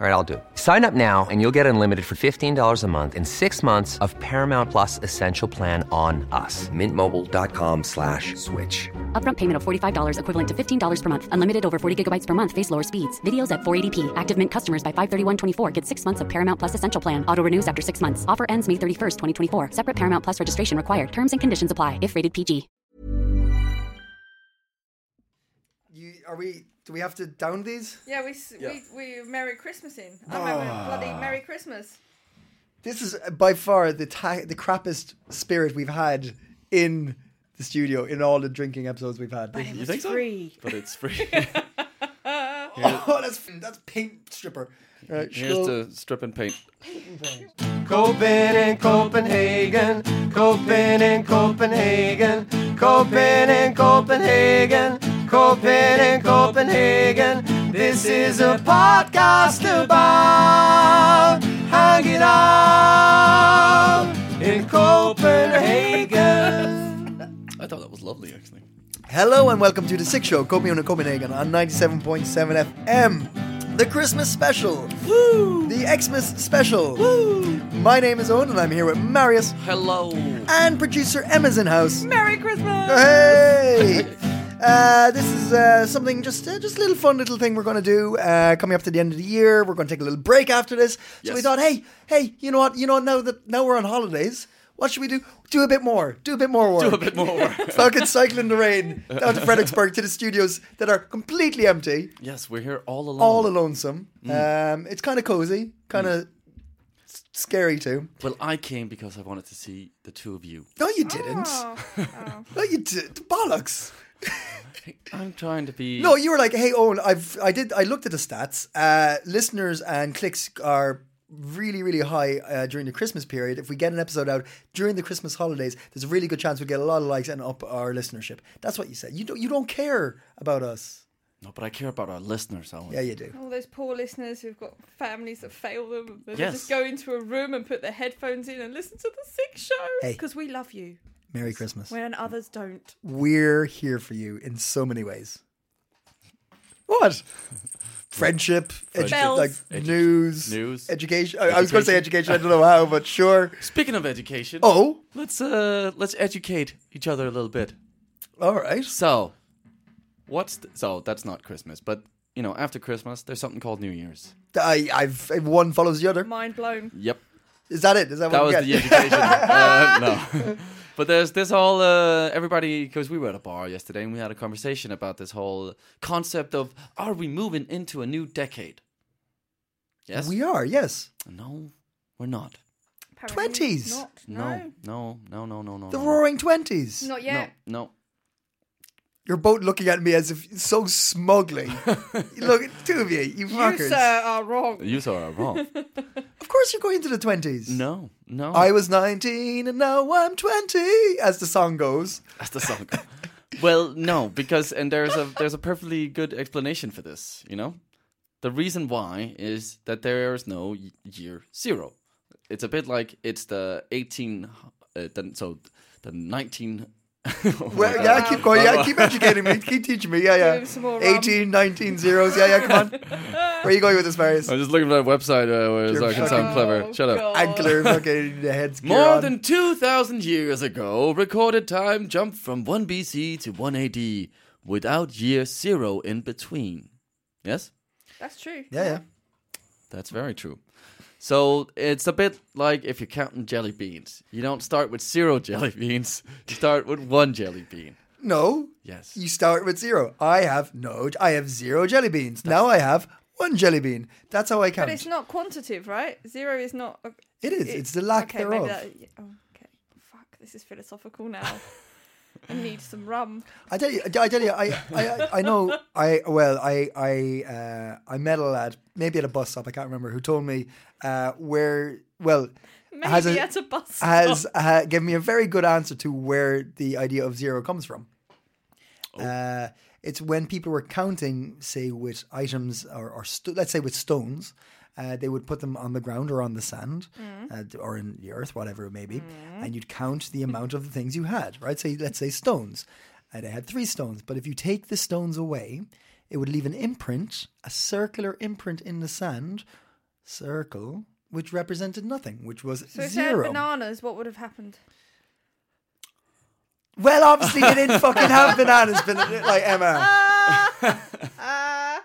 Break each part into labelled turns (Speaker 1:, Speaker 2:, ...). Speaker 1: All right, I'll do. it. Sign up now and you'll get unlimited for $15 a month in six months of Paramount Plus Essential Plan on us. Mintmobile.com slash switch.
Speaker 2: Upfront payment of $45 equivalent to $15 per month. Unlimited over 40 gigabytes per month. Face lower speeds. Videos at 480p. Active Mint customers by 531.24 get six months of Paramount Plus Essential Plan. Auto renews after six months. Offer ends May 31st, 2024. Separate Paramount Plus registration required. Terms and conditions apply if rated PG.
Speaker 3: You are we? Do we have to down these?
Speaker 4: Yeah, we s we we Merry Christmasing. I remember
Speaker 5: Ah.
Speaker 4: bloody Merry Christmas.
Speaker 3: This is by far the ti the crappest spirit we've had in the studio in all the drinking episodes we've had.
Speaker 4: It
Speaker 3: This is-
Speaker 4: was
Speaker 5: think so?
Speaker 4: free.
Speaker 5: But it's free.
Speaker 3: oh, that's that's paint stripper. Right,
Speaker 5: Here's
Speaker 3: scroll.
Speaker 5: the strip and paint.
Speaker 6: Copen in Copenhagen, Copen in Copenhagen, Copen in Copenhagen, Copen in Copenhagen. This is a podcast about hanging out in Copenhagen.
Speaker 5: I thought that was lovely, actually.
Speaker 3: Hello and welcome to the Six Show, Copenhagen and Copenhagen on 97.7 FM. The Christmas special. Woo! The Xmas special. Woo! My name is Owen and I'm here with Marius
Speaker 5: Hello.
Speaker 3: and producer Emma's in house.
Speaker 4: Merry Christmas.
Speaker 3: Hey! Uh, this is uh, something just uh, just a little fun little thing we're going to do uh, coming up to the end of the year. We're going to take a little break after this. So we
Speaker 5: Yes.
Speaker 3: thought, hey, hey, you know what? You know now that now we're on holidays, what should we do? Do a bit more. Do a bit more work.
Speaker 5: Do a bit more.
Speaker 3: Falcon cycle in the rain down to Fredericksburg to the studios that are completely empty,
Speaker 5: yes, we're here all alone.
Speaker 3: all lonesome. Um, it's kind of cozy, kind of s- scary too.
Speaker 5: Well, I came because I wanted to see the two of you.
Speaker 3: No, you didn't. No, you did. Bollocks.
Speaker 5: I'm trying to be.
Speaker 3: No, you were like, hey, Owen, I've I did I looked at the stats. Uh, listeners and clicks are really really high uh, during the Christmas period. If we get an episode out during the Christmas holidays, there's a really good chance we get a lot of likes and up our listenership. That's what you said. You don't you don't care about us.
Speaker 5: No, but I care about our listeners, Owen.
Speaker 3: Yeah, you do.
Speaker 4: All those poor listeners who've got families that fail them. They
Speaker 5: Yes.
Speaker 4: just go into a room and put their headphones in and listen to the sick show
Speaker 3: Hey.
Speaker 4: because we love you
Speaker 3: Merry Christmas.
Speaker 4: when others don't.
Speaker 3: We're here for you in so many ways. What? Friendship, edu-
Speaker 4: Bells.
Speaker 3: like news,
Speaker 5: News.
Speaker 3: education. I, I was going to say education. I don't know how, but sure.
Speaker 5: Speaking of education,
Speaker 3: Oh,
Speaker 5: let's uh let's educate each other a little bit.
Speaker 3: all right.
Speaker 5: So, what's the, so that's not Christmas, but you know, after Christmas, there's something called New Year's.
Speaker 3: I, I've one follows the other.
Speaker 4: Mind blown.
Speaker 5: Yep,
Speaker 3: Is that it? Is that,
Speaker 5: that
Speaker 3: what
Speaker 5: was
Speaker 3: we
Speaker 5: the
Speaker 3: get?
Speaker 5: education. uh, no, but there's this whole uh, everybody because we were at a bar yesterday and we had a conversation about this whole concept of are we moving into a new decade? Yes.
Speaker 3: we are, yes.
Speaker 5: no, we're not.
Speaker 4: Apparently
Speaker 3: 20s.
Speaker 4: Not.
Speaker 5: No,
Speaker 4: No.
Speaker 5: no, no, no, no, no.
Speaker 3: The
Speaker 5: no.
Speaker 3: Roaring Twenties.
Speaker 4: Not
Speaker 5: No,
Speaker 4: yet.
Speaker 5: no.
Speaker 3: You're both looking at me as if so smugly. Look, two of you, you
Speaker 4: You
Speaker 3: fuckers.
Speaker 4: sir are wrong.
Speaker 5: You saw it wrong.
Speaker 3: of course, you're going into the twenties.
Speaker 5: no, no.
Speaker 3: I was 19 and now I'm 20, as the song goes.
Speaker 5: That's the song. well, no, because and there's a there's a perfectly good explanation for this. You know, the reason why is that there is no y- year zero. It's a bit like it's the eighteen, uh, then so the nineteen. Oh my
Speaker 3: Well,
Speaker 5: God.
Speaker 3: yeah, keep going. Yeah, keep educating me. Keep teaching me. Yeah,
Speaker 4: Give him some more
Speaker 3: yeah. 18,
Speaker 4: rum.
Speaker 3: 19 zeros. Yeah, yeah, come on. Where are you going with this,
Speaker 4: Oh.
Speaker 3: Marius?
Speaker 5: I'm just looking for that website uh, where it's
Speaker 3: You're
Speaker 5: I can
Speaker 3: fucking-
Speaker 5: sound clever. Shut up.
Speaker 4: God.
Speaker 3: Ankler, fucking the heads. gear
Speaker 5: More
Speaker 3: on.
Speaker 5: than 2,000 years ago, recorded time jumped from 1 BC to 1 AD without year zero in between. Yes?
Speaker 4: That's true.
Speaker 3: Yeah, yeah.
Speaker 5: That's very true. So it's a bit like if you're counting jelly beans. You don't start with zero jelly beans. You start with one jelly bean.
Speaker 3: No.
Speaker 5: Yes.
Speaker 3: You start with zero. I have no. I have zero jelly beans. now I have one jelly bean. That's how I count.
Speaker 4: But it's not quantitative, right? Zero is not. A,
Speaker 3: It is. It's the lack
Speaker 4: okay,
Speaker 3: thereof.
Speaker 4: Maybe that, yeah, oh, okay. Fuck. This is philosophical now. I need some rum.
Speaker 3: I tell you. I tell you. I. I. I know. I. Well. I. I. Uh, I met a lad, maybe at a bus stop. I can't remember who told me uh, where. Well,
Speaker 4: Maybe
Speaker 3: has a,
Speaker 4: at a bus stop.
Speaker 3: has uh, given me a very good answer to where the idea of zero comes from. Uh, it's when people were counting, say, with items or, or st- let's say with stones, uh, they would put them on the ground or on the sand uh, d- or in the earth, whatever it may be, and you'd count the amount of the things you had, right? So let's say stones. And I had three stones, but if you take the stones away, it would leave an imprint, a circular imprint in the sand, circle, which represented nothing, which was
Speaker 4: So if they had
Speaker 3: zero.
Speaker 4: bananas, what would have happened?
Speaker 3: Well, obviously you didn't fucking have bananas, but like Emma,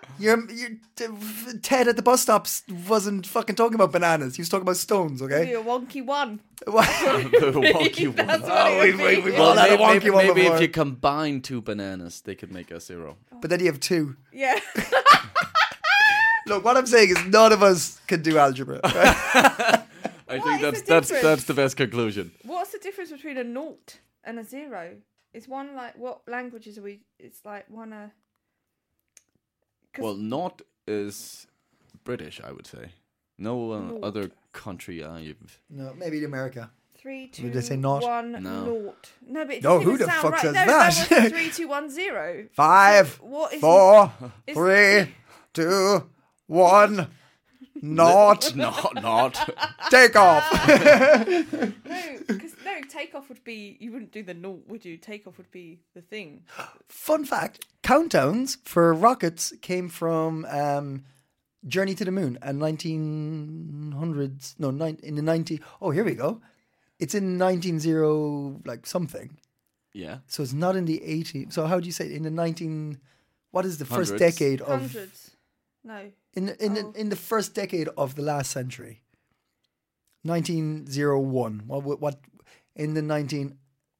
Speaker 3: your your Ted at the bus stops wasn't fucking talking about bananas. He was talking about stones.
Speaker 4: It'd be
Speaker 3: Okay.
Speaker 4: a wonky one.
Speaker 5: wonky
Speaker 4: That's
Speaker 5: one.
Speaker 4: what it would be.
Speaker 3: we've
Speaker 5: Well,
Speaker 3: all had a
Speaker 5: maybe,
Speaker 3: wonky
Speaker 5: maybe,
Speaker 3: one
Speaker 5: maybe
Speaker 3: before.
Speaker 5: if you combine two bananas, they could make a zero.
Speaker 3: But then you have two.
Speaker 4: Yeah.
Speaker 3: Look, what I'm saying is none of us can do algebra. right?
Speaker 4: What
Speaker 5: I
Speaker 4: is
Speaker 5: think
Speaker 4: the
Speaker 5: that's that's
Speaker 4: difference?
Speaker 5: that's the best conclusion.
Speaker 4: What's the difference between a naught and a zero? Is one like what languages are we? It's like one a. 'Cause-
Speaker 5: Well, not is British, I would say. No uh, other country I've.
Speaker 3: no, maybe in America.
Speaker 4: Three, two,
Speaker 3: Did they say naught?
Speaker 4: one,
Speaker 5: No.
Speaker 4: naught. No, but it
Speaker 3: No,
Speaker 4: doesn't
Speaker 3: who
Speaker 4: even
Speaker 3: the
Speaker 4: sound
Speaker 3: fuck
Speaker 4: right.
Speaker 3: says
Speaker 4: no,
Speaker 3: that?
Speaker 4: was three, two, one, zero.
Speaker 3: Five,
Speaker 4: What is-
Speaker 3: four,
Speaker 4: Is-
Speaker 3: three, two, one. Not
Speaker 5: No, not.
Speaker 3: take off.
Speaker 4: No, because no, takeoff would be. You wouldn't do the naught, would you? Takeoff would be the thing.
Speaker 3: Fun fact: countdowns for rockets came from um, Journey to the Moon and 1900s. No, nine, in the 90. Oh, here we go. It's in 190 like something.
Speaker 5: yeah.
Speaker 3: So it's not in the 80. So how do you say it? in the 19? What is the first
Speaker 5: Hundreds.
Speaker 3: decade of
Speaker 4: Hundreds. Oh. No.
Speaker 3: in the- in the, in the first decade of the last century? 1901. What what, what in the 19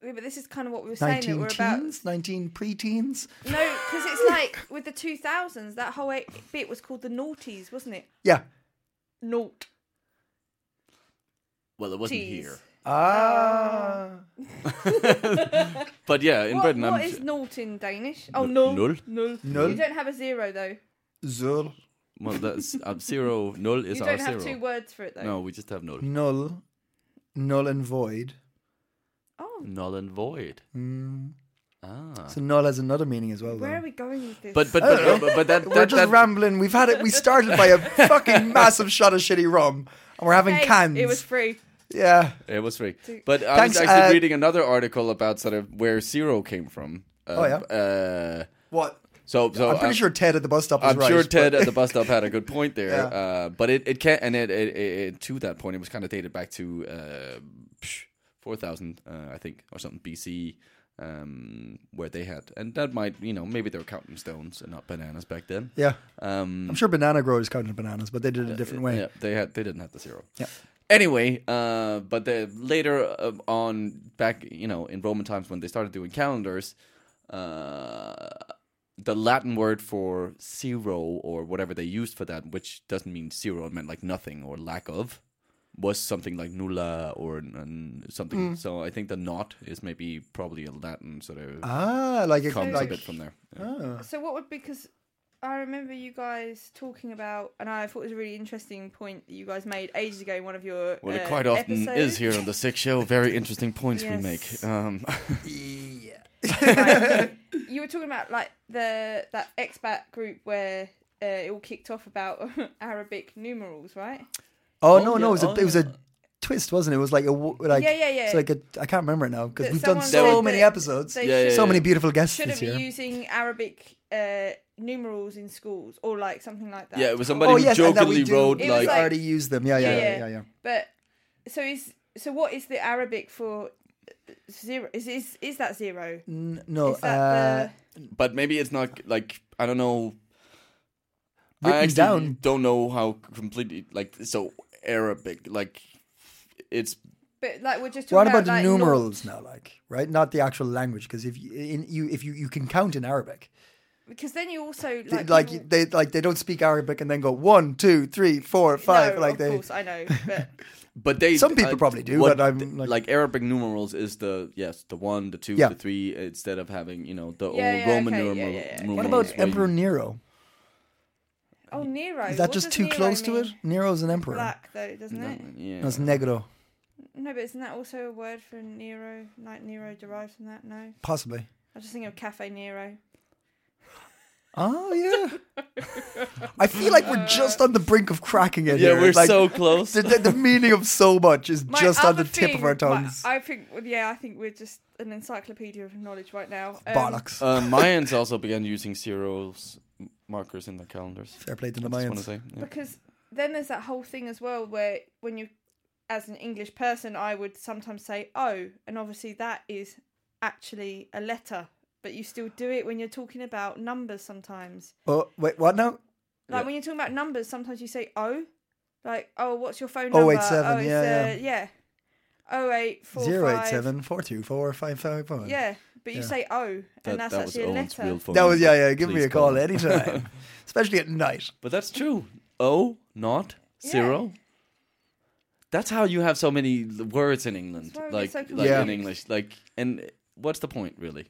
Speaker 4: Yeah, but this is kind of what we were saying that
Speaker 3: 19
Speaker 4: we're about.
Speaker 3: teens, 19 pre-teens?
Speaker 4: No, because it's like with the 2000s, that whole eight- bit was called the noughties, wasn't it?
Speaker 3: Yeah.
Speaker 4: Naught.
Speaker 5: Well, it wasn't
Speaker 4: Teas.
Speaker 5: here,
Speaker 3: Ah.
Speaker 5: but yeah, in
Speaker 4: What-
Speaker 5: Britain,
Speaker 4: what
Speaker 5: I'm.
Speaker 4: is naught in Danish? Oh,
Speaker 5: N-
Speaker 4: null.
Speaker 5: null.
Speaker 4: Null.
Speaker 3: Null.
Speaker 4: You don't have a zero, though.
Speaker 3: Zul.
Speaker 5: well, that's uh, zero. Null is
Speaker 4: you
Speaker 5: our
Speaker 4: don't have
Speaker 5: zero.
Speaker 4: two words for it, though.
Speaker 5: no, we just have null.
Speaker 3: Null. Null and void.
Speaker 4: Oh,
Speaker 5: Null and void.
Speaker 3: Mm.
Speaker 5: Ah.
Speaker 3: So null has another meaning as well.
Speaker 4: where are
Speaker 3: though.
Speaker 4: we going with this?
Speaker 5: But but but, but, but that,
Speaker 3: We're
Speaker 5: that,
Speaker 3: just
Speaker 5: that
Speaker 3: rambling. We've had it. We started by a fucking massive shot of shitty rum, and we're having
Speaker 4: Hey,
Speaker 3: cans.
Speaker 4: It was free.
Speaker 3: yeah.
Speaker 5: It was free. But I
Speaker 3: Thanks,
Speaker 5: was actually
Speaker 3: uh,
Speaker 5: reading another article about sort of where zero came from. Uh,
Speaker 3: Oh, yeah?
Speaker 5: Uh,
Speaker 3: What?
Speaker 5: so so
Speaker 3: I'm pretty
Speaker 5: uh,
Speaker 3: sure Ted at the bus stop was
Speaker 5: I'm
Speaker 3: right.
Speaker 5: sure Ted
Speaker 3: but-
Speaker 5: at the bus stop had a good point there.
Speaker 3: Yeah.
Speaker 5: uh, but it it can and it, it, it, it- to that point it was kind of dated back to uh, psh, 4000 uh, I think or something BC. Um, where they had, and that might, you know, maybe they were counting stones and not bananas back then.
Speaker 3: yeah.
Speaker 5: Um, uh,
Speaker 3: I'm sure banana growers counted bananas, but they did it a different way.
Speaker 5: yeah, they had they didn't have the zero.
Speaker 3: Yeah.
Speaker 5: Anyway, uh, but the, later uh, on, back you know in Roman times when they started doing calendars, uh, the Latin word for zero or whatever they used for that, which doesn't mean zero, it meant like nothing or lack of, was something like nulla or n- something. So I think the not is maybe probably a Latin sort of
Speaker 3: Ah, like it
Speaker 5: comes
Speaker 3: like,
Speaker 5: a bit from there. Yeah.
Speaker 4: So what would because I remember you guys talking about, and I thought it was a really interesting point that you guys made ages ago in one of your
Speaker 5: Well, it
Speaker 4: uh,
Speaker 5: quite often
Speaker 4: episodes.
Speaker 5: is here on the Sick Show. Very interesting points we
Speaker 4: Yes.
Speaker 5: make. Um,
Speaker 4: Right. you were talking about like the that expat group where uh, it all kicked off about Arabic numerals, right?
Speaker 3: Oh,
Speaker 5: Oh,
Speaker 3: no,
Speaker 5: yeah,
Speaker 3: no, it was a
Speaker 5: oh,
Speaker 3: it was
Speaker 5: yeah.
Speaker 3: a twist, wasn't it? It was like a w- like
Speaker 4: Yeah, yeah, yeah.
Speaker 3: It's like a I can't remember it now because
Speaker 4: That
Speaker 3: we've done
Speaker 4: someone
Speaker 3: so
Speaker 4: said
Speaker 3: many
Speaker 4: that
Speaker 3: episodes,
Speaker 4: they
Speaker 5: Yeah, yeah,
Speaker 4: should-
Speaker 5: yeah.
Speaker 3: so many beautiful guests
Speaker 4: shouldn't
Speaker 3: this
Speaker 4: be
Speaker 3: year.
Speaker 4: using Arabic uh, numerals in schools or like something like that.
Speaker 5: Yeah, it was somebody
Speaker 3: oh
Speaker 5: who
Speaker 3: yes, and that we
Speaker 5: jokingly
Speaker 3: do,
Speaker 5: wrote
Speaker 4: It
Speaker 3: we
Speaker 4: was
Speaker 5: like,
Speaker 4: like-
Speaker 3: already used them. Yeah, yeah, yeah, yeah, yeah.
Speaker 4: But so is so what is the Arabic for uh, zero? Is is is that zero?
Speaker 3: N- no,
Speaker 4: Is that
Speaker 3: uh,
Speaker 4: the
Speaker 5: but maybe it's not like I don't know. I
Speaker 3: Written
Speaker 5: actually
Speaker 3: down.
Speaker 5: don't know how completely like so Arabic like it's
Speaker 4: but like we're just talking
Speaker 3: What about the
Speaker 4: like,
Speaker 3: numerals
Speaker 4: naught,
Speaker 3: now, like right? Not the actual language, because if you, in, you if you you can count in Arabic,
Speaker 4: Because then you also
Speaker 3: They-
Speaker 4: like,
Speaker 3: like
Speaker 4: people-
Speaker 3: they like they don't speak Arabic and then go one, two, three, four, five.
Speaker 4: No,
Speaker 3: like
Speaker 4: of
Speaker 3: they
Speaker 4: course I know, but
Speaker 5: but they
Speaker 3: Some people probably do,
Speaker 5: what
Speaker 3: but I'm,
Speaker 5: th-
Speaker 3: like-
Speaker 5: Arabic numerals is the yes the one the two
Speaker 3: Yeah.
Speaker 5: the three instead of having you know the old
Speaker 4: Yeah, yeah,
Speaker 5: Roman
Speaker 4: okay, yeah,
Speaker 5: numeral.
Speaker 4: yeah, yeah, okay.
Speaker 3: what
Speaker 5: numerals
Speaker 3: about
Speaker 5: where
Speaker 3: Emperor
Speaker 5: you-
Speaker 3: Nero?
Speaker 4: oh Nero.
Speaker 3: Is that
Speaker 4: what
Speaker 3: just
Speaker 4: does
Speaker 3: too
Speaker 4: Nero
Speaker 3: close to
Speaker 4: mean?
Speaker 3: it? Nero's an emperor.
Speaker 4: Black though, doesn't it?
Speaker 5: Yeah.
Speaker 3: That's negro,
Speaker 4: No, but isn't that also a word for Nero? Like Nero derives from that? No,
Speaker 3: possibly.
Speaker 4: I was just thinking of Cafe Nero.
Speaker 3: Oh yeah. I feel like we're just on the brink of cracking it.
Speaker 5: Yeah,
Speaker 3: here.
Speaker 5: we're
Speaker 3: Like,
Speaker 5: so close.
Speaker 3: The, the, the meaning of so much is
Speaker 4: My
Speaker 3: just on the
Speaker 4: other
Speaker 3: tip of
Speaker 4: thing-
Speaker 3: our tongues.
Speaker 4: My, I think, well, yeah, I think we're just an encyclopedia of knowledge right now. Um,
Speaker 3: Bollocks.
Speaker 5: uh, Mayans also began using zeros m- markers in their calendars.
Speaker 3: Fair play to the
Speaker 5: I just want
Speaker 3: Mayans.
Speaker 5: to say. yeah.
Speaker 4: Because then there's that whole thing as well where when you, as an English person, I would sometimes say "oh," and obviously that is actually a letter, but you still do it when you're talking about numbers sometimes.
Speaker 3: Oh wait, what now?
Speaker 4: Like when you're talking about numbers, sometimes you say "oh," like "oh, what's your phone number?"
Speaker 3: 087,
Speaker 4: it's,
Speaker 3: yeah,
Speaker 4: uh, yeah. Oh eight four
Speaker 3: Zero eight
Speaker 4: five.
Speaker 3: seven four two four five five one.
Speaker 4: Yeah, but you
Speaker 3: Yeah.
Speaker 4: say "oh," and that's
Speaker 5: was
Speaker 4: actually a
Speaker 5: Owen's
Speaker 4: letter.
Speaker 5: real phone
Speaker 3: That was yeah,
Speaker 5: number.
Speaker 3: yeah. Give me
Speaker 5: Please
Speaker 3: a call
Speaker 5: him.
Speaker 3: anytime, especially at night.
Speaker 5: But that's true. O, not zero. That's how you have so many l- words in England,
Speaker 4: That's why we
Speaker 5: like
Speaker 4: get so
Speaker 5: like
Speaker 3: confused.
Speaker 5: in English, like and what's the point really?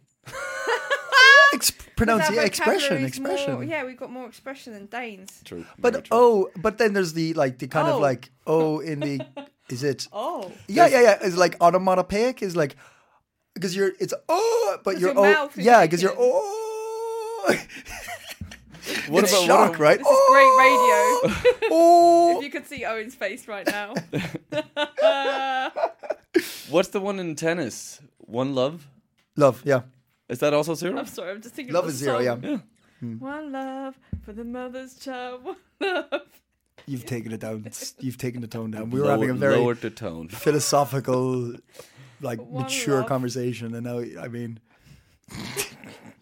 Speaker 3: Ex-
Speaker 4: Because
Speaker 3: pronounce
Speaker 4: our
Speaker 3: yeah, expression,
Speaker 4: vocabulary's more-
Speaker 3: expression.
Speaker 4: yeah, we've got more expression than Danes.
Speaker 5: True, very
Speaker 3: But
Speaker 5: true.
Speaker 3: oh, but then there's the like the kind
Speaker 4: Oh.
Speaker 3: of like oh in the is it
Speaker 4: Oh,
Speaker 3: yeah yeah yeah is like onomatopoeic is like because you're it's oh but
Speaker 4: 'Cause
Speaker 3: you're
Speaker 4: your
Speaker 3: oh
Speaker 4: mouth is
Speaker 3: yeah because you're
Speaker 4: shaking.
Speaker 3: oh
Speaker 5: what
Speaker 3: it's
Speaker 5: about
Speaker 3: shock
Speaker 5: what,
Speaker 3: right
Speaker 4: this is great radio.
Speaker 3: oh
Speaker 4: If you could see Owen's face right now.
Speaker 5: What's the one in tennis? One love.
Speaker 3: love yeah
Speaker 5: Is that also zero?
Speaker 4: I'm sorry, I'm just thinking.
Speaker 3: love
Speaker 4: of
Speaker 3: is
Speaker 4: the
Speaker 3: zero yeah
Speaker 4: song. One love for the mother's child. One love.
Speaker 3: you've taken it down It's- you've taken the tone down we were
Speaker 5: Lower-
Speaker 3: having a very
Speaker 5: lowered the tone.
Speaker 3: philosophical like
Speaker 4: One
Speaker 3: mature
Speaker 4: love.
Speaker 3: conversation and now I mean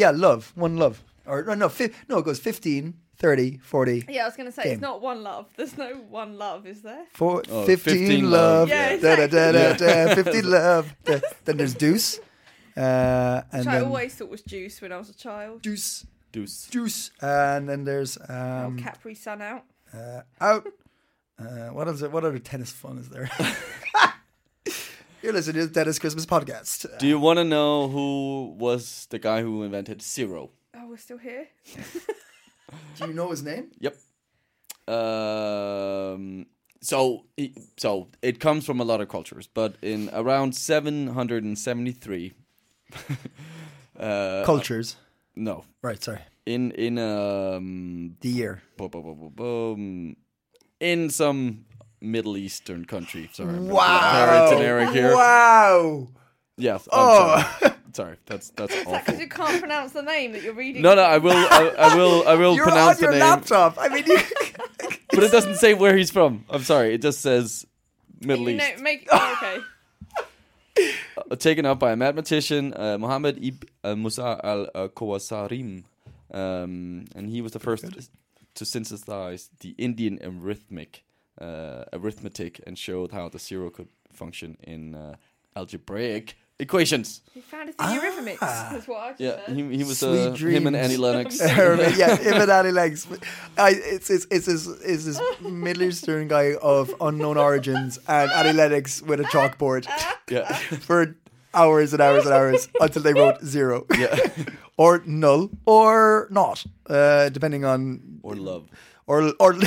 Speaker 3: yeah love one love or no no fi- no it goes 15 30 40
Speaker 4: Yeah, I was gonna say
Speaker 3: Game.
Speaker 4: it's not one love. There's no one love, is there?
Speaker 3: Four,
Speaker 5: Oh,
Speaker 3: 15,
Speaker 5: 15
Speaker 3: love.
Speaker 5: love.
Speaker 4: Yeah,
Speaker 3: da, da, da, da, da,
Speaker 5: exactly.
Speaker 3: 15 love. Da- Then there's Deuce. Uh, and
Speaker 4: Which I
Speaker 3: then
Speaker 4: always thought was juice when I was a child.
Speaker 3: Deuce.
Speaker 5: Deuce.
Speaker 3: Deuce. And then there's
Speaker 4: Oh,
Speaker 3: um,
Speaker 4: Capri Sun out.
Speaker 3: uh, Out. Uh, what else? What other tennis fun is there? You're listening to the Tennis Christmas Podcast.
Speaker 5: Do you want to know who was the guy who invented zero?
Speaker 4: Oh, we're still here.
Speaker 3: Do you know his name?
Speaker 5: Yep. Um. So, he- so it comes from a lot of cultures, but in around 773, uh,
Speaker 3: Cultures.
Speaker 5: no,
Speaker 3: Right, sorry.
Speaker 5: in in um,
Speaker 3: The year.
Speaker 5: bu- bu- bu- bu- bum, in some Middle Eastern country. Sorry, I'm
Speaker 3: Wow.
Speaker 5: generic here.
Speaker 3: Wow.
Speaker 5: Yes.
Speaker 3: Oh.
Speaker 5: oh, sorry. sorry. That's that's
Speaker 4: Because
Speaker 5: awful.
Speaker 4: you can't pronounce the name that you're reading.
Speaker 5: No, no, I will, I, I will, I will
Speaker 3: You're
Speaker 5: pronounce
Speaker 3: on your
Speaker 5: the name.
Speaker 3: laptop. I mean, you.
Speaker 5: but it doesn't say where he's from. I'm sorry. It just says Middle
Speaker 4: You
Speaker 5: East.
Speaker 4: know, make oh, okay.
Speaker 5: Uh, Taken up by a mathematician, uh, Mohammed ibn uh, Musa al uh, Qawasarim. Um, and he was the first to synthesize the Indian arithmetic, uh, arithmetic and showed how the zero could function in uh, algebraic equations.
Speaker 4: He found it in your arithmetic.
Speaker 3: Ah.
Speaker 4: That's what I just
Speaker 5: Yeah,
Speaker 4: said.
Speaker 5: he, he was
Speaker 3: Sweet
Speaker 5: uh, him and
Speaker 3: dreams.
Speaker 5: Annie Lennox.
Speaker 3: Herman, yeah, Ibn legs. I, it's, it's, it's, this, it's this Middle Eastern guy of unknown origins and Ali Lennox with a chalkboard
Speaker 5: yeah,
Speaker 3: for hours and hours and hours until they wrote zero
Speaker 5: yeah,
Speaker 3: or null or not, uh, depending on.
Speaker 5: or love.
Speaker 3: Or. or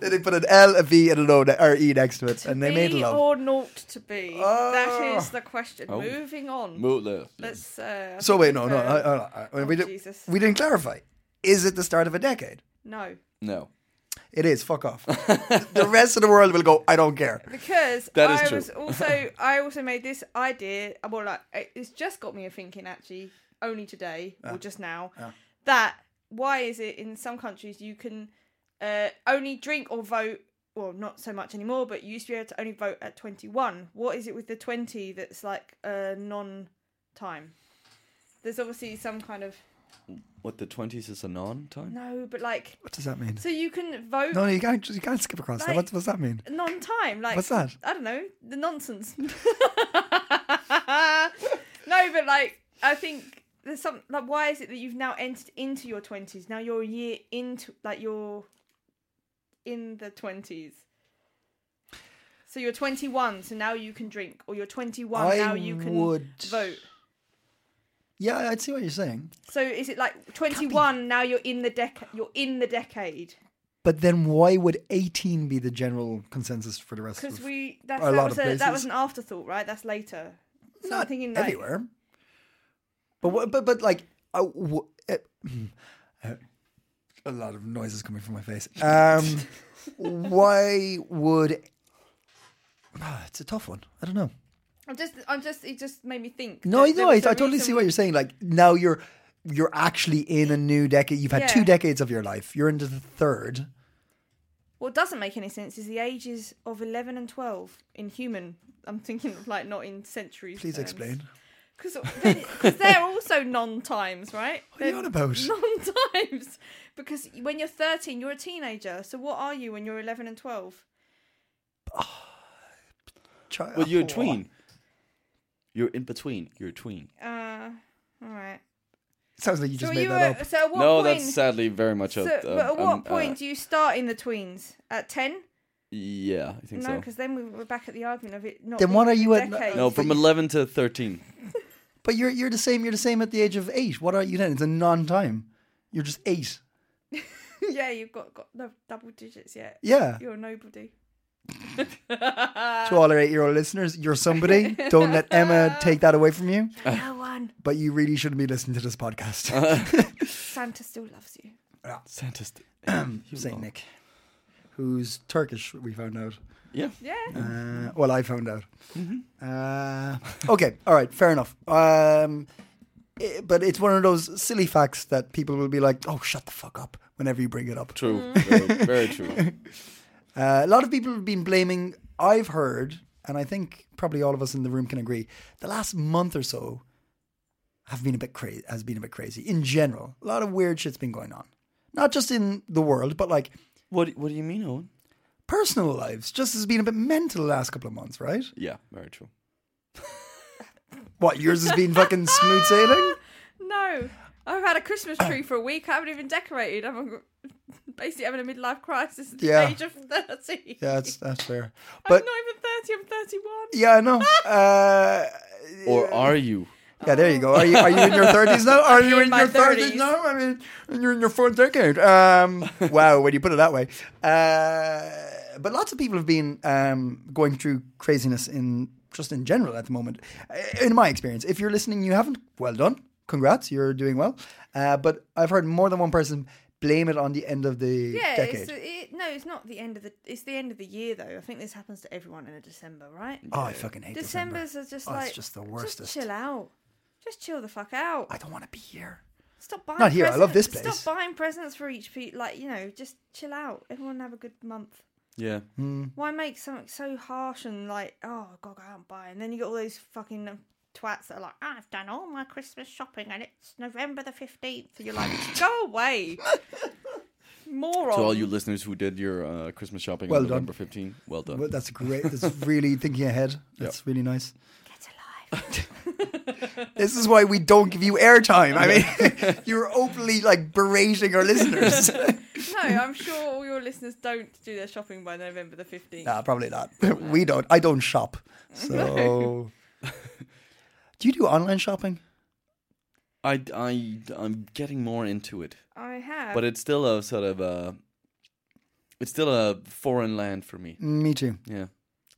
Speaker 3: Then they put an L, a V, and an O, or E next to it, and they made
Speaker 4: be
Speaker 3: love.
Speaker 4: or not to be?
Speaker 3: Oh.
Speaker 4: That is the question. Moving on.
Speaker 5: Mo- love.
Speaker 4: Let's. Uh,
Speaker 3: so wait, no, no,
Speaker 4: uh,
Speaker 3: I, I, I, we, did,
Speaker 4: Jesus.
Speaker 3: we didn't clarify. Is it the start of a decade?
Speaker 4: no,
Speaker 5: No.
Speaker 3: It is. Fuck off. the rest of the world will go. I don't care.
Speaker 4: because
Speaker 5: That is
Speaker 4: I
Speaker 5: true.
Speaker 4: was also I also made this idea. Well, like it- it's just got me a thinking actually, only today or just now, that why is it in some countries you can uh, only drink or vote. Well, not so much anymore, but you used to be able to only vote at 21. What is it with the 20 that's like uh, non time? There's obviously some kind of.
Speaker 5: What, the 20s is a non time?
Speaker 4: No, but like.
Speaker 3: What does that mean?
Speaker 4: So you can vote
Speaker 3: No, no, you can't. You can't skip across that. What
Speaker 4: Like-
Speaker 3: does that mean?
Speaker 4: non-time. Like
Speaker 3: What's that?
Speaker 4: I don't know. The nonsense. no, but like I think there's some. Like, why is it that you've now entered into your twenties? Now you're a year into. Like you're in the twenties. So you're 21, so now you can drink, or you're 21,
Speaker 3: I
Speaker 4: now you can
Speaker 3: would-
Speaker 4: vote.
Speaker 3: Yeah, I'd see what you're saying.
Speaker 4: So is it like 21? Now you're in the decade. You're in the decade
Speaker 3: But then, why would 18 be the general consensus for the rest?
Speaker 4: because
Speaker 3: of
Speaker 4: we that's,
Speaker 3: A
Speaker 4: that
Speaker 3: lot
Speaker 4: was
Speaker 3: of
Speaker 4: a, that
Speaker 3: places.
Speaker 4: was an afterthought, right? That's later. So I'm
Speaker 3: not
Speaker 4: thinking like,
Speaker 3: everywhere? But what? But but like I w- uh, uh, a lot of noises coming from my face. Um, why would? Ah, it's a tough one. I don't know.
Speaker 4: I'm just, I'm just, it just made me think.
Speaker 3: No,
Speaker 4: that
Speaker 3: I
Speaker 4: there
Speaker 3: know. I, I
Speaker 4: was a
Speaker 3: totally
Speaker 4: reason
Speaker 3: see what you're saying. Like now you're you're actually in a new decade. You've had
Speaker 4: Yeah.
Speaker 3: two decades of your life. You're into the third.
Speaker 4: What doesn't make any sense is the ages of 11 and 12 in human. I'm thinking of like not in centuries.
Speaker 3: Please explain.
Speaker 4: Because they're also non times, right? What
Speaker 3: are you on about?
Speaker 4: Non times. Because when you're 13, you're a teenager. So what are you when you're 11 and 12?
Speaker 3: Try-
Speaker 5: Well, you're a
Speaker 3: Oh.
Speaker 5: tween. You're in between. You're a tween.
Speaker 4: Uh, all right.
Speaker 3: Sounds like you
Speaker 4: So
Speaker 3: just
Speaker 4: are
Speaker 3: made
Speaker 4: you?
Speaker 3: that
Speaker 4: at-
Speaker 3: up.
Speaker 4: so at what
Speaker 5: no,
Speaker 4: point?
Speaker 5: that's sadly very much
Speaker 4: so,
Speaker 5: a.
Speaker 4: but
Speaker 5: um,
Speaker 4: at what
Speaker 5: um, uh,
Speaker 4: point do you start in the tweens? At 10?
Speaker 5: yeah, I think
Speaker 4: No,
Speaker 5: so.
Speaker 4: because then we were back at the argument of it not.
Speaker 3: Then what
Speaker 4: being
Speaker 3: are you
Speaker 4: a
Speaker 3: at-
Speaker 4: decade.
Speaker 5: No, from 11 to 13.
Speaker 3: But you're you're the same. You're the same at the age of eight. What are you then? It's a non-time. You're just eight.
Speaker 4: yeah, you've got, got no double digits yet.
Speaker 3: Yeah.
Speaker 4: You're a nobody.
Speaker 3: to all our eight-year-old listeners, you're somebody. Don't let Emma take that away from you.
Speaker 4: no one.
Speaker 3: But you really shouldn't be listening to this podcast.
Speaker 4: Santa still loves you.
Speaker 5: Santa's.
Speaker 3: Saint Nick, who's Turkish, we found out.
Speaker 5: Yeah.
Speaker 4: Yeah.
Speaker 3: Uh, well, I found out. Uh, okay, all right, fair enough. Um, i- but it's one of those silly facts that people will be like, "Oh, shut the fuck up!" whenever you bring it up.
Speaker 5: True.
Speaker 4: Mm.
Speaker 5: Very, very true.
Speaker 3: Uh, a lot of people have been blaming. I've heard, and I think probably all of us in the room can agree, the last month or so have been a bit crazy. Has been a bit crazy in general. A lot of weird shit's been going on, not just in the world, but like
Speaker 5: What What do you mean, Owen?
Speaker 3: personal lives. Just has been a bit mental the last couple of months, right?
Speaker 5: Yeah, very true.
Speaker 3: What yours has been fucking smooth sailing.
Speaker 4: No, I've had a Christmas tree for a week. I haven't even decorated. I'm basically having a midlife crisis at the
Speaker 3: Yeah.
Speaker 4: age of 30.
Speaker 3: Yeah, that's that's fair.
Speaker 4: I'm
Speaker 3: But
Speaker 4: not even 30, I'm 31.
Speaker 3: yeah, I know. Uh,
Speaker 5: Or are you?
Speaker 3: yeah, there you go. Are you are you in your thirties now? Are you
Speaker 4: in
Speaker 3: in
Speaker 4: my
Speaker 3: your thirties
Speaker 4: 30s.
Speaker 3: now? I mean, you're in your fourth decade. Um, wow, when you put it that way. Uh, but lots of people have been um, going through craziness in just in general at the moment. Uh, In my experience, if you're listening, you haven't. Well done, congrats, you're doing well. Uh, but I've heard more than one person blame it on the end of the
Speaker 4: Yeah,
Speaker 3: decade.
Speaker 4: it's, it, no, it's not the end of the. It's the end of the year though. I think this happens to everyone in a December, right?
Speaker 3: oh, I fucking hate December.
Speaker 4: December's are just
Speaker 3: Oh, it's
Speaker 4: like
Speaker 3: just the
Speaker 4: Just
Speaker 3: worstest.
Speaker 4: chill out. Just chill the fuck out.
Speaker 3: I don't want to be here.
Speaker 4: Stop buying.
Speaker 3: Not here, I love this
Speaker 4: presents.
Speaker 3: place.
Speaker 4: Stop buying presents for each pe Like you know, just chill out. Everyone have a good month.
Speaker 5: Yeah.
Speaker 4: Why make something so harsh and like, oh, I gotta go out and buy, and then you got all those fucking um, twats that are like, I've done all my Christmas shopping and it's November the fifteenth. You're like, go away, moron.
Speaker 5: To all you listeners who did your uh, Christmas shopping
Speaker 3: Well
Speaker 5: on
Speaker 3: done.
Speaker 5: November 15, well done.
Speaker 3: Well, that's great. That's really thinking ahead. That's really nice.
Speaker 4: Get alive.
Speaker 3: This is why we don't give you airtime. I mean, you're openly like berating our listeners.
Speaker 4: no, I'm sure all your listeners don't do their shopping by November the fifteenth.
Speaker 3: nah, probably not. we don't. I don't shop. So, do you do online shopping?
Speaker 5: I, I, I'm getting more into it.
Speaker 4: I have.
Speaker 5: But it's still a sort of a. It's still a foreign land for me.
Speaker 3: Me too.
Speaker 5: Yeah.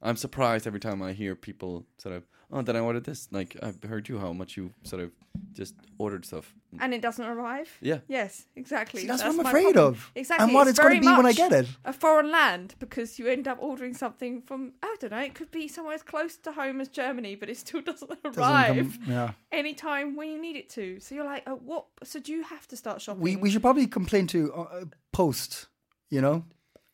Speaker 5: I'm surprised every time I hear people sort of, oh, then I ordered this. Like, I've heard you how much you sort of just ordered stuff.
Speaker 4: and it doesn't arrive.
Speaker 5: Yeah.
Speaker 4: Yes, exactly.
Speaker 3: See, that's what I'm
Speaker 4: my
Speaker 3: afraid
Speaker 4: problem.
Speaker 3: of.
Speaker 4: Exactly.
Speaker 3: And what it's gonna
Speaker 4: very
Speaker 3: be when I
Speaker 4: much
Speaker 3: get it.
Speaker 4: A foreign land, because you end up ordering something from I don't know. It could be somewhere as close to home as Germany, but it still doesn't arrive
Speaker 3: come- yeah.
Speaker 4: anytime when you need it to. So you're like, oh, what? So do you have to start shopping?
Speaker 3: We we should probably complain to uh, Post. You know,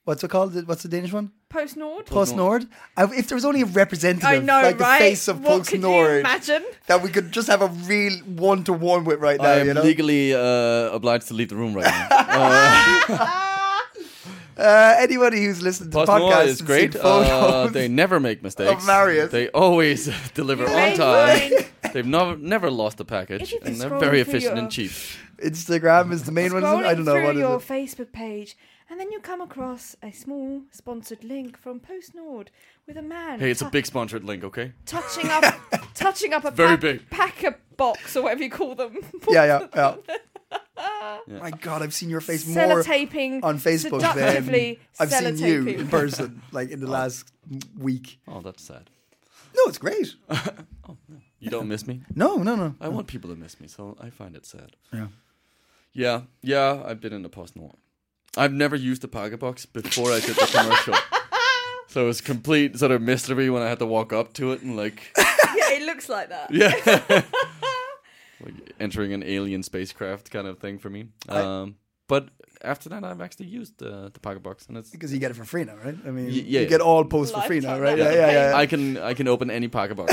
Speaker 3: what's it called? What's the Danish one?
Speaker 4: post Nord.
Speaker 3: Post Nord. Uh, If there was only a representative,
Speaker 4: I know,
Speaker 3: like
Speaker 4: right?
Speaker 3: the face of
Speaker 4: what
Speaker 3: Post
Speaker 4: could you
Speaker 3: Nord,
Speaker 4: imagine?
Speaker 3: that we could just have a real one to one with right now.
Speaker 5: I am
Speaker 3: you know?
Speaker 5: legally uh, obliged to leave the room right now.
Speaker 3: Uh, anybody who's listened to the
Speaker 5: Postmore
Speaker 3: podcast
Speaker 5: is
Speaker 3: and
Speaker 5: great.
Speaker 3: seen
Speaker 5: Uh,
Speaker 3: photos.
Speaker 5: they never make mistakes.
Speaker 3: Marius.
Speaker 5: They always deliver on
Speaker 4: made
Speaker 5: time.
Speaker 4: mine.
Speaker 5: They've never never lost a
Speaker 4: If
Speaker 5: package,
Speaker 4: you've been
Speaker 5: and they're
Speaker 4: scrolling
Speaker 5: very
Speaker 4: through
Speaker 5: efficient
Speaker 4: your-
Speaker 5: and cheap.
Speaker 3: Instagram is the main one. isn't it?
Speaker 4: Scrolling
Speaker 3: I don't know
Speaker 4: through
Speaker 3: what is
Speaker 4: your
Speaker 3: it.
Speaker 4: Facebook page, and then you come across a small sponsored link from Post Nord with a man.
Speaker 5: Hey, it's a
Speaker 4: tu-
Speaker 5: big sponsored link, okay?
Speaker 4: touching up, touching up a
Speaker 5: Very
Speaker 4: pack,
Speaker 5: big.
Speaker 4: packer box or whatever you call them.
Speaker 3: Yeah, yeah, yeah. My God, I've seen your face more
Speaker 4: Sellotaping
Speaker 3: on Facebook than
Speaker 4: seductively
Speaker 3: I've seen you
Speaker 4: sellotaping.
Speaker 3: in person, like in the last week.
Speaker 5: Oh, that's sad.
Speaker 3: No, it's great.
Speaker 5: You don't miss me.
Speaker 3: No, no, no.
Speaker 5: I want people to miss me, so I find it sad.
Speaker 3: Yeah.
Speaker 5: Yeah, yeah, I've been in a post noir. I've never used a pocket box before I did the commercial. so it was complete sort of mystery when I had to walk up to it and like
Speaker 4: yeah, it looks like that.
Speaker 5: Yeah. like entering an alien spacecraft kind of thing for me. Um but after that I've actually used uh, the pocket box and it's
Speaker 3: Because you get it for free now, right? I mean,
Speaker 5: Y- yeah,
Speaker 3: you
Speaker 5: yeah.
Speaker 3: get all posts for free now,
Speaker 4: Lifetime
Speaker 3: right? Yeah,
Speaker 4: value.
Speaker 3: yeah, yeah.
Speaker 5: I can I can open any pocket box.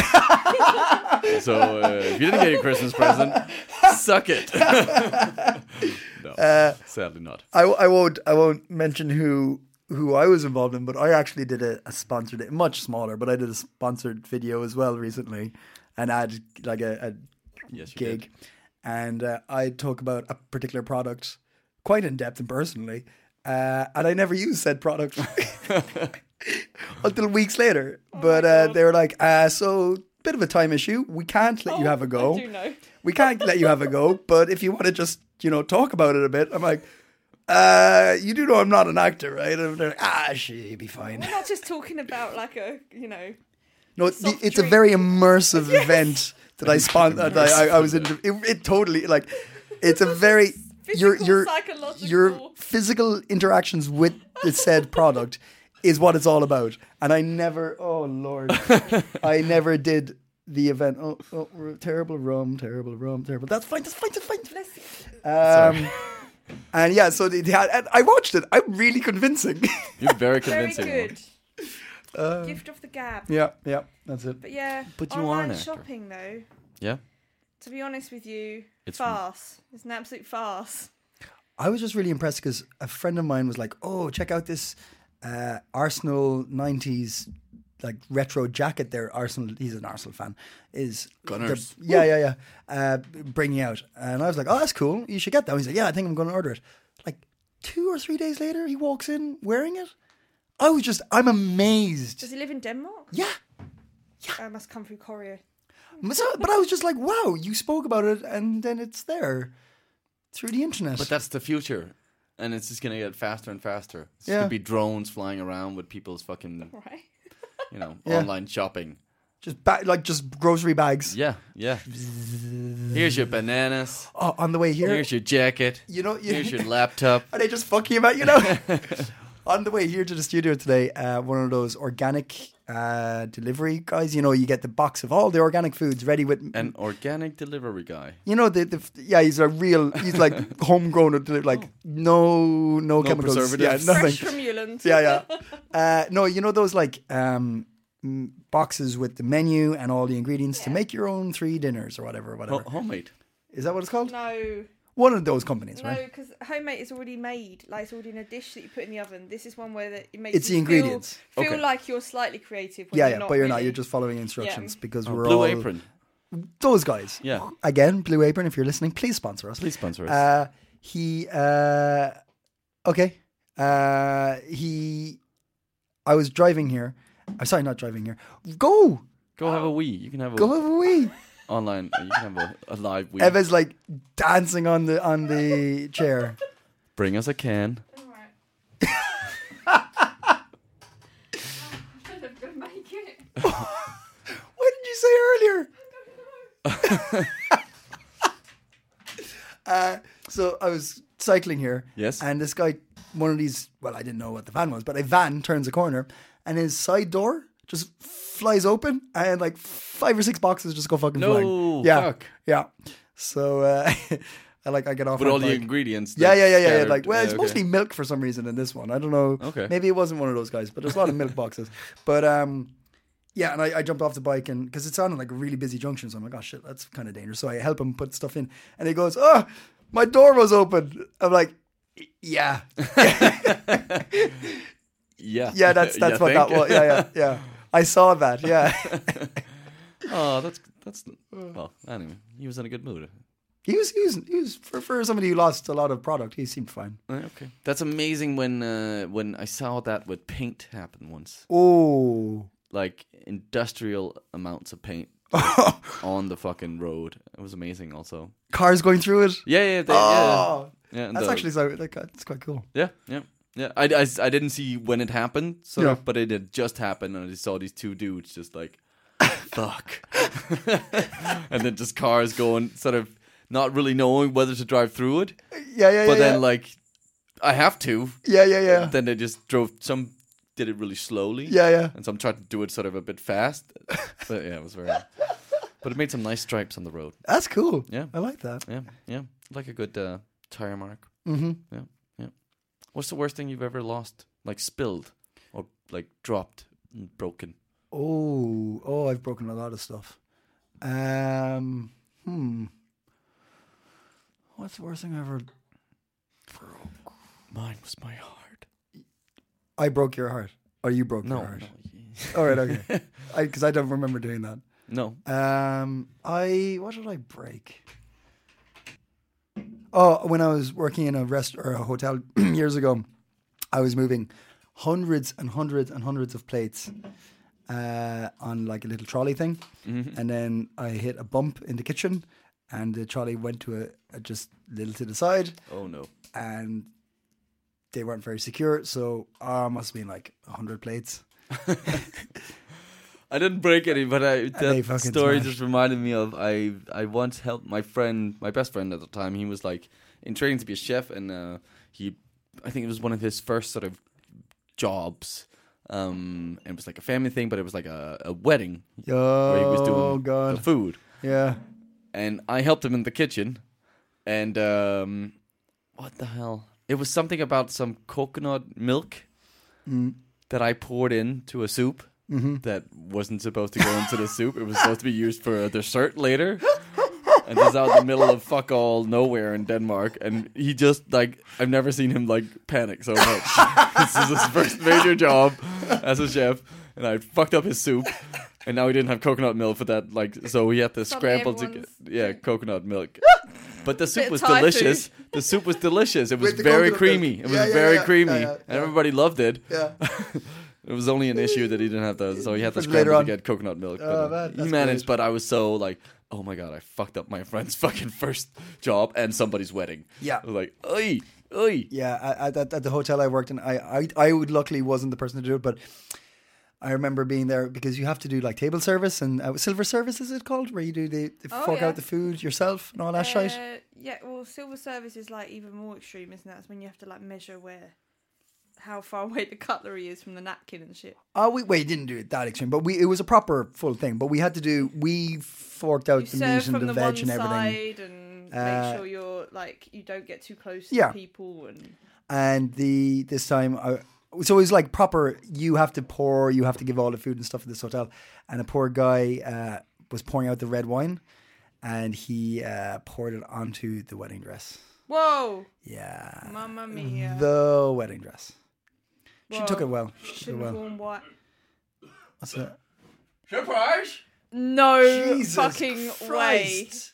Speaker 5: so uh, if you didn't get your Christmas present, suck it. no,
Speaker 3: Uh,
Speaker 5: sadly not.
Speaker 3: I, I won't I won't mention who who I was involved in, but I actually did a, a sponsored, much smaller, but I did a sponsored video as well recently, and I had like a, a
Speaker 5: Yes, you
Speaker 3: gig,
Speaker 5: did.
Speaker 3: and uh, I talk about a particular product quite in depth and personally, uh, and I never used said product until weeks later.
Speaker 4: Oh
Speaker 3: but uh, they were like, uh, "So, bit of a time issue. We can't let you have a go.
Speaker 4: Oh, I do know.
Speaker 3: We can't let you have a go. But if you want to just, you know, talk about it a bit, I'm like." Uh, you do know I'm not an actor, right? And they're like, ah, shit, you'll be fine.
Speaker 4: We're not just talking about like a you know.
Speaker 3: No, it's,
Speaker 4: Soft
Speaker 3: it's a
Speaker 4: drink.
Speaker 3: very immersive event that I spawned. That I, I, I was in. It, it totally like it's a very your
Speaker 4: Physical,
Speaker 3: your
Speaker 4: psychological.
Speaker 3: your physical interactions with the said product is what it's all about. And I never, oh lord, I never did the event. Oh, oh r- terrible rum, terrible rum, terrible. That's fine. That's fine. That's fine.
Speaker 4: Let's,
Speaker 3: Um, and yeah, so they, they had, and I watched it. I'm really convincing.
Speaker 5: You're very
Speaker 4: very
Speaker 5: convincing.
Speaker 4: good. Gift of the gab.
Speaker 3: Uh, yeah, yeah, that's it.
Speaker 4: But yeah,
Speaker 5: But you are
Speaker 4: online
Speaker 5: an actor.
Speaker 4: shopping though.
Speaker 5: Yeah.
Speaker 4: To be honest with you,
Speaker 5: It's-
Speaker 4: farce. It's an absolute farce.
Speaker 3: I was just really impressed because a friend of mine was like, "Oh, check out this uh, Arsenal '90s like retro jacket." There, Arsenal. He's an Arsenal fan. Is
Speaker 5: Gunners.
Speaker 3: the- yeah, yeah, yeah. Uh, bringing out, and I was like, "Oh, that's cool. You should get that." He's like, "Yeah, I think I'm going to order it." Like two or three days later, he walks in wearing it. I was just, I'm amazed.
Speaker 4: Does he live in Denmark?
Speaker 3: Yeah.
Speaker 4: I must come through Korea.
Speaker 3: So, but I was just like, "Wow, you spoke about it, and then it's there through the internet."
Speaker 5: But that's the future. And it's just gonna get faster and faster. It's
Speaker 3: Yeah.
Speaker 5: gonna be drones flying around with people's fucking
Speaker 4: Right.
Speaker 5: you know,
Speaker 3: Yeah.
Speaker 5: online shopping.
Speaker 3: just ba- like just grocery bags.
Speaker 5: Yeah, yeah. Here's your bananas.
Speaker 3: Oh, on the way here,
Speaker 5: Here's your jacket.
Speaker 3: You know, you-
Speaker 5: here's your laptop.
Speaker 3: Are they just fucking about you know? On the way here to the studio today, uh, one of those organic uh, delivery guys. You know, you get the box of all the organic foods ready with.
Speaker 5: An organic delivery guy.
Speaker 3: you know the, the yeah he's a real he's like homegrown at the- like no no, chemicals
Speaker 5: preservatives.
Speaker 3: yeah
Speaker 4: Fresh
Speaker 3: nothing
Speaker 4: from Uland.
Speaker 3: yeah yeah uh, no you know those like um, mm, boxes with the menu and all the ingredients to make your own three dinners or whatever whatever
Speaker 5: Ho- homemade.
Speaker 3: is that what it's called
Speaker 4: No,
Speaker 3: one of those companies
Speaker 4: no,
Speaker 3: right
Speaker 4: because homemade is already made. Like it's already in a dish that you put in the oven. This is one where that it makes
Speaker 3: It's the
Speaker 4: you
Speaker 3: ingredients.
Speaker 4: Feel, feel
Speaker 5: Okay.
Speaker 4: like you're slightly creative. When
Speaker 3: yeah
Speaker 4: you're
Speaker 3: yeah
Speaker 4: not
Speaker 3: but you're not
Speaker 4: really.
Speaker 3: you're just following instructions because we're
Speaker 5: Oh, Blue
Speaker 3: all
Speaker 5: apron.
Speaker 3: those guys.
Speaker 5: Yeah.
Speaker 3: Again, Blue Apron, if you're listening, please sponsor us.
Speaker 5: Please sponsor us.
Speaker 3: Uh, he, uh, okay. Uh, he, I was driving here. I'm sorry, not driving here. Go,
Speaker 5: go have a wee. You can have a
Speaker 3: go have a wee.
Speaker 5: online. You can have a, a live wee.
Speaker 3: Eva's like dancing on the on the chair.
Speaker 5: Bring us a can.
Speaker 3: What did you say earlier? uh, so I was cycling here.
Speaker 5: Yes.
Speaker 3: And this guy, one of these, well, I didn't know what the van was, but a van turns a corner and his side door just flies open and like five or six boxes just go fucking
Speaker 5: No,
Speaker 3: flying. Yeah.
Speaker 5: fuck.
Speaker 3: Yeah. So uh, I like, I get off.
Speaker 5: With
Speaker 3: my
Speaker 5: all the
Speaker 3: bike.
Speaker 5: ingredients.
Speaker 3: Yeah,
Speaker 5: that's
Speaker 3: yeah, yeah, yeah, yeah.
Speaker 5: scattered.
Speaker 3: Like, well,
Speaker 5: Yeah,
Speaker 3: it's
Speaker 5: okay.
Speaker 3: mostly milk for some reason in this one. I don't know.
Speaker 5: Okay.
Speaker 3: Maybe it wasn't one of those guys, but there's a lot of milk boxes. But um, yeah, and I, I jumped off the bike and because it's on like a really busy junction, so I'm like, oh shit, that's kind of dangerous. So I help him put stuff in, and he goes, oh, my door was open. I'm like, yeah,
Speaker 5: Yeah.
Speaker 3: yeah, that's
Speaker 5: You
Speaker 3: that's what that
Speaker 5: think?
Speaker 3: was. Yeah, yeah, yeah. I saw that. Yeah,
Speaker 5: oh, that's that's. Well, anyway, he was in a good mood.
Speaker 3: he was he was he was for, for somebody who lost a lot of product. He seemed fine.
Speaker 5: Uh, Okay, that's amazing. When uh, when I saw that with paint happen once,
Speaker 3: Oh,
Speaker 5: like industrial amounts of paint on the fucking road, it was amazing. Also,
Speaker 3: cars going through it.
Speaker 5: yeah, yeah, they,
Speaker 3: Oh,
Speaker 5: yeah, yeah. and
Speaker 3: that's
Speaker 5: the-
Speaker 3: actually so. Like, that's quite cool.
Speaker 5: yeah, yeah, yeah. I, I, I didn't see when it happened, so
Speaker 3: Yeah.
Speaker 5: but it had just happened, and I just saw these two dudes just like fuck. and then just cars going, sort of not really knowing whether to drive through it.
Speaker 3: Yeah, yeah, yeah.
Speaker 5: But then,
Speaker 3: yeah.
Speaker 5: like, I have to.
Speaker 3: yeah, yeah, yeah.
Speaker 5: Then they just drove, some did it really slowly.
Speaker 3: Yeah, yeah.
Speaker 5: And some tried to do it sort of a bit fast. But yeah, it was very. But it made some nice stripes on the road.
Speaker 3: That's cool.
Speaker 5: Yeah.
Speaker 3: I like that.
Speaker 5: Yeah, yeah. Like a good uh, tire mark.
Speaker 3: Mm-hmm.
Speaker 5: Yeah, yeah. What's the worst thing you've ever lost? Like spilled or like dropped and broken?
Speaker 3: Oh, oh, I've broken a lot of stuff. Um, hmm. What's the worst thing I ever?
Speaker 5: Mine was my heart.
Speaker 3: I broke your heart, or you broke
Speaker 5: No.
Speaker 3: your heart.
Speaker 5: No.
Speaker 3: All right, okay. Because I, don't remember doing that.
Speaker 5: no.
Speaker 3: Um, I what did I break? Oh, when I was working in a rest or a hotel years ago, I was moving hundreds and hundreds and hundreds of plates uh, on like a little trolley thing,
Speaker 5: Mm-hmm.
Speaker 3: and then I hit a bump in the kitchen, and the trolley went to a, a just little to the side,
Speaker 5: Oh no.
Speaker 3: and they weren't very secure. So uh, must have been like hundred plates.
Speaker 5: I didn't break any, but
Speaker 3: they
Speaker 5: I, that
Speaker 3: fucking
Speaker 5: story
Speaker 3: smashed.
Speaker 5: just reminded me of I I once helped my friend, my best friend at the time. He was like in training to be a chef, and uh, he, I think it was one of his first sort of jobs. Um, and it was like a family thing, but it was like a, a wedding where he was
Speaker 3: Oh
Speaker 5: doing
Speaker 3: god,
Speaker 5: the food.
Speaker 3: yeah.
Speaker 5: and I helped him in the kitchen. And um, what the hell? It was something about some coconut milk that I poured into a soup that wasn't supposed to go into the soup. It was supposed to be used for a dessert later. And this is out in the middle of fuck all nowhere in Denmark. And he just, like, I've never seen him, like, panic so much. this is his first major job as a chef. And I fucked up his soup. And now he didn't have coconut milk for that, like, so he had to
Speaker 4: Suddenly
Speaker 5: scramble to get,
Speaker 4: everyone's
Speaker 5: yeah, coconut milk. But the
Speaker 4: Bit
Speaker 5: soup was
Speaker 4: Thai food.
Speaker 5: delicious. The soup was delicious. It was
Speaker 3: With the
Speaker 5: very
Speaker 3: coconut milk.
Speaker 5: creamy. It was
Speaker 3: Yeah, yeah,
Speaker 5: very
Speaker 3: yeah.
Speaker 5: creamy.
Speaker 3: Yeah, yeah,
Speaker 5: And
Speaker 3: yeah.
Speaker 5: everybody loved it.
Speaker 3: Yeah.
Speaker 5: It was only an issue that he didn't have to, so he had to
Speaker 3: Later
Speaker 5: scramble
Speaker 3: on.
Speaker 5: to get coconut milk. But
Speaker 3: Oh,
Speaker 5: uh,
Speaker 3: man,
Speaker 5: he
Speaker 3: that's
Speaker 5: managed,
Speaker 3: great.
Speaker 5: but I was so like, oh my god, I fucked up my friend's fucking first job and somebody's wedding.
Speaker 3: Yeah.
Speaker 5: I was like, oi, oi.
Speaker 3: Yeah, I, I, at, at the hotel I worked in, I, I, I would luckily wasn't the person to do it, but I remember being there because you have to do like table service and uh, silver service, is it called? Where you do the, the
Speaker 4: Oh,
Speaker 3: fork
Speaker 4: yeah.
Speaker 3: out the food yourself and all that shite.
Speaker 4: Uh, yeah, well, silver service is like even more extreme, isn't that? It's when you have to like measure where, how far away the cutlery is from the napkin and shit.
Speaker 3: Oh, we, wait, didn't do it that extreme, but we it was a proper full thing. But we had to do, we forked out
Speaker 4: You
Speaker 3: the meat and
Speaker 4: serve from
Speaker 3: the,
Speaker 4: the, one
Speaker 3: veg and everything.
Speaker 4: side and
Speaker 3: Uh,
Speaker 4: make sure you're like you don't get too close
Speaker 3: Yeah.
Speaker 4: to people and
Speaker 3: and the this time uh, I it's always like proper you have to pour you have to give all the food and stuff at this hotel and a poor guy uh, was pouring out the red wine and he uh, poured it onto the wedding dress
Speaker 4: whoa,
Speaker 3: yeah
Speaker 4: mamma mia!
Speaker 3: the wedding dress she took
Speaker 4: Whoa.
Speaker 3: it well she took
Speaker 4: Shouldn't
Speaker 3: it
Speaker 4: have
Speaker 3: well
Speaker 4: worn white.
Speaker 3: That's it.
Speaker 5: Surprise!
Speaker 4: No
Speaker 3: Jesus
Speaker 4: fucking way!
Speaker 3: Christ.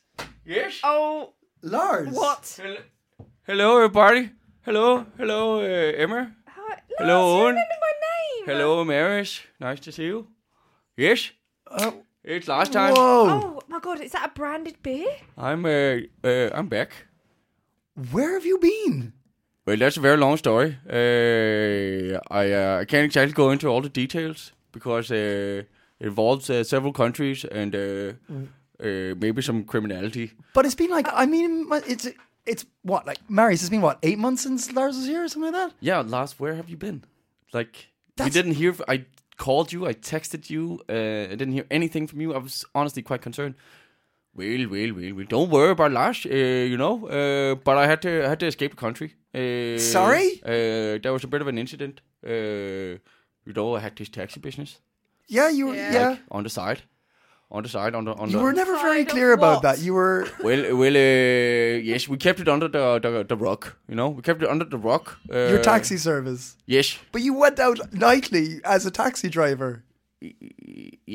Speaker 5: Yes.
Speaker 4: Oh,
Speaker 3: Lars
Speaker 4: what?
Speaker 5: Hello, everybody. Hello, hello, uh, Emma.
Speaker 4: How, Lars,
Speaker 5: Hello,
Speaker 4: you
Speaker 5: Owen.
Speaker 4: remember my name?
Speaker 5: Hello, Marish. Nice to see you. Yes.
Speaker 3: Oh,
Speaker 5: It's last time.
Speaker 3: whoa
Speaker 4: Oh my god, is that a branded beer?
Speaker 5: I'm uh, uh, I'm back.
Speaker 3: where have you been
Speaker 5: Well, that's a very long story. Uh, I uh, I can't exactly go into all the details because uh, it involves uh, several countries and uh, uh, maybe some criminality.
Speaker 3: but it's been like I mean my- it's it's what like Marius it's been what eight months since Lars was here or something like that
Speaker 5: Yeah, Lars, where have you been? Like
Speaker 3: That's-
Speaker 5: we didn't hear. I called you. I texted you. Uh, I didn't hear anything from you. I was honestly quite concerned. Well, well, well, well. Don't worry about Lars. Uh, you know, uh, but I had to I had to escape the country. Uh,
Speaker 3: Sorry?
Speaker 5: Uh, there was a bit of an incident. Uh, you know, I had this taxi business.
Speaker 3: yeah you were
Speaker 4: Yeah.
Speaker 3: yeah.
Speaker 5: on the side, on the side, on the on
Speaker 3: You
Speaker 5: the.
Speaker 3: were never very
Speaker 4: Side of
Speaker 3: clear about
Speaker 4: what?
Speaker 3: that. You were
Speaker 5: well, well, uh, yes, we kept it under the, the the rock. You know, we kept it under the rock. Uh,
Speaker 3: your taxi service,
Speaker 5: Yes,
Speaker 3: but you went out nightly as a taxi driver.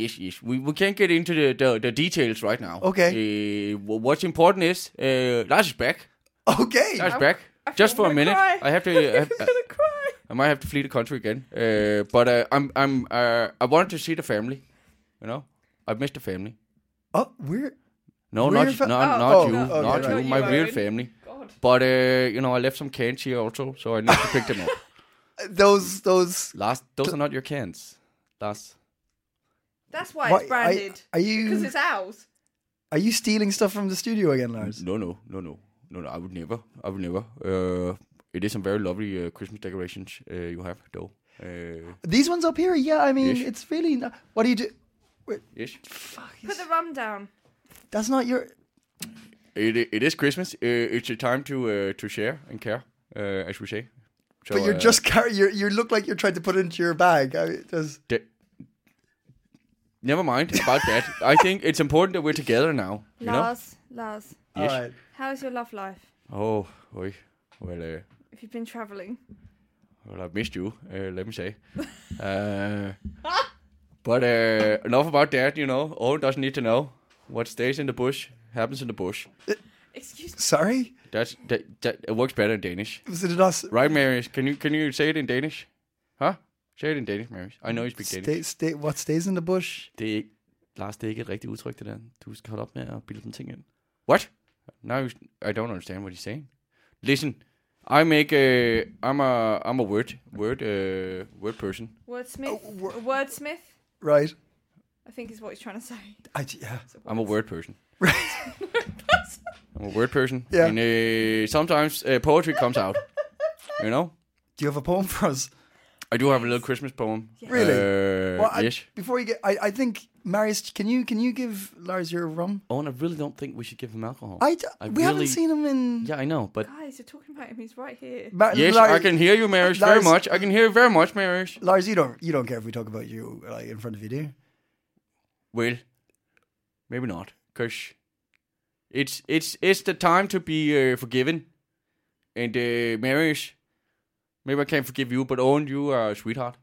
Speaker 5: yes, yes. We we can't get into the the, the details right now.
Speaker 3: Okay.
Speaker 5: Uh, wh- what's important is uh, Lars is back.
Speaker 3: Okay,
Speaker 5: Lars is back. Just for a
Speaker 4: I'm gonna
Speaker 5: minute,
Speaker 4: cry.
Speaker 5: I have to. I, have, uh,
Speaker 4: I'm gonna cry.
Speaker 5: I might have to flee the country again. Uh, but uh, I'm I'm uh, I wanted to see the family. You know, I've missed the family.
Speaker 3: oh, we're
Speaker 5: No,
Speaker 3: Real
Speaker 5: not
Speaker 3: fa-
Speaker 5: you, no,
Speaker 4: Oh,
Speaker 5: not
Speaker 3: oh,
Speaker 5: you,
Speaker 3: okay,
Speaker 5: not
Speaker 3: right.
Speaker 5: you.
Speaker 3: Not
Speaker 5: My
Speaker 4: you,
Speaker 5: real
Speaker 4: Owen.
Speaker 5: family.
Speaker 4: God.
Speaker 5: But uh, you know, I left some cans here also, so I need to pick them up.
Speaker 3: those those.
Speaker 5: Last, those are not your cans. Last,
Speaker 4: That's why
Speaker 3: Why- Mm.
Speaker 4: it's branded.
Speaker 3: are- are you-
Speaker 4: Because it's ours.
Speaker 3: Are you stealing stuff from the studio again, Lars?
Speaker 5: No, no, no, no, no, no. I would never. I would never. Uh, it is some very lovely uh, Christmas decorations uh, you have, though. Uh,
Speaker 3: These ones up here, yeah. I mean,
Speaker 5: Ish.
Speaker 3: it's really. Not, what do you do?
Speaker 5: yes.
Speaker 4: Put the rum down.
Speaker 3: That's not your.
Speaker 5: It, it is Christmas. Uh, it's a time to uh, to share and care, uh, as we say. So,
Speaker 3: But you're
Speaker 5: uh,
Speaker 3: just carrying. You you look like you're trying to put it into your bag. I mean, just,
Speaker 5: de- Never mind about that. I think it's important that we're together now. You know.
Speaker 4: Lars, Lars,
Speaker 5: Yes.
Speaker 3: All right.
Speaker 4: how's your love life?
Speaker 5: Oh, oi. well, uh,
Speaker 4: If you've been travelling,
Speaker 5: well, I've missed you. Uh, let me say. uh, but uh, enough about that. You know, all doesn't need to know. What stays in the bush happens in the bush.
Speaker 4: excuse me.
Speaker 3: Sorry,
Speaker 5: That's that, that it works better in Danish,
Speaker 3: was it an us?
Speaker 5: right, Marius? Can you can you say it in Danish? Huh? Say it in Danish, Marius. I know you speak Danish.
Speaker 3: Stay, stay, what stays in the bush?
Speaker 5: Det er ikke, Lars, det er ikke et rigtigt udtryk, det der. Du skal holde op med at bilde sådan ting ind. What? Now you, I don't understand what he's saying. Listen, I make a, I'm a, I'm a word, word, uh, word person.
Speaker 4: Wordsmith.
Speaker 3: Oh, wor-
Speaker 4: A wordsmith,
Speaker 3: Right.
Speaker 4: I think is what he's trying to say.
Speaker 3: I, yeah.
Speaker 5: I'm a word person.
Speaker 3: Right.
Speaker 5: I'm a word person.
Speaker 3: Yeah.
Speaker 5: And uh, sometimes uh, poetry comes out. You know?
Speaker 3: Do you have a poem for us?
Speaker 5: I do have a little Christmas poem.
Speaker 3: Really?
Speaker 5: Uh,
Speaker 3: Well, I,
Speaker 5: yes.
Speaker 3: Before you get, I, I think Marius, can you can you give Lars your rum?
Speaker 5: Oh, and I really don't think we should give him alcohol.
Speaker 3: I, d-
Speaker 5: I
Speaker 3: we haven't
Speaker 5: really-
Speaker 3: seen him in.
Speaker 5: Yeah, I know, but
Speaker 4: Guys, you're talking about him. He's right here.
Speaker 3: Ma-
Speaker 5: yes,
Speaker 3: Lars,
Speaker 5: I can hear you, Marish, very
Speaker 3: Lars-
Speaker 5: much. I can hear you very much, Marish.
Speaker 3: Lars, you don't you don't care if we talk about you like in front of you, do you?
Speaker 5: Well, maybe not, cause it's it's it's the time to be uh, forgiven, and uh, Marish, maybe I can't forgive you, but Owen, you are a sweetheart.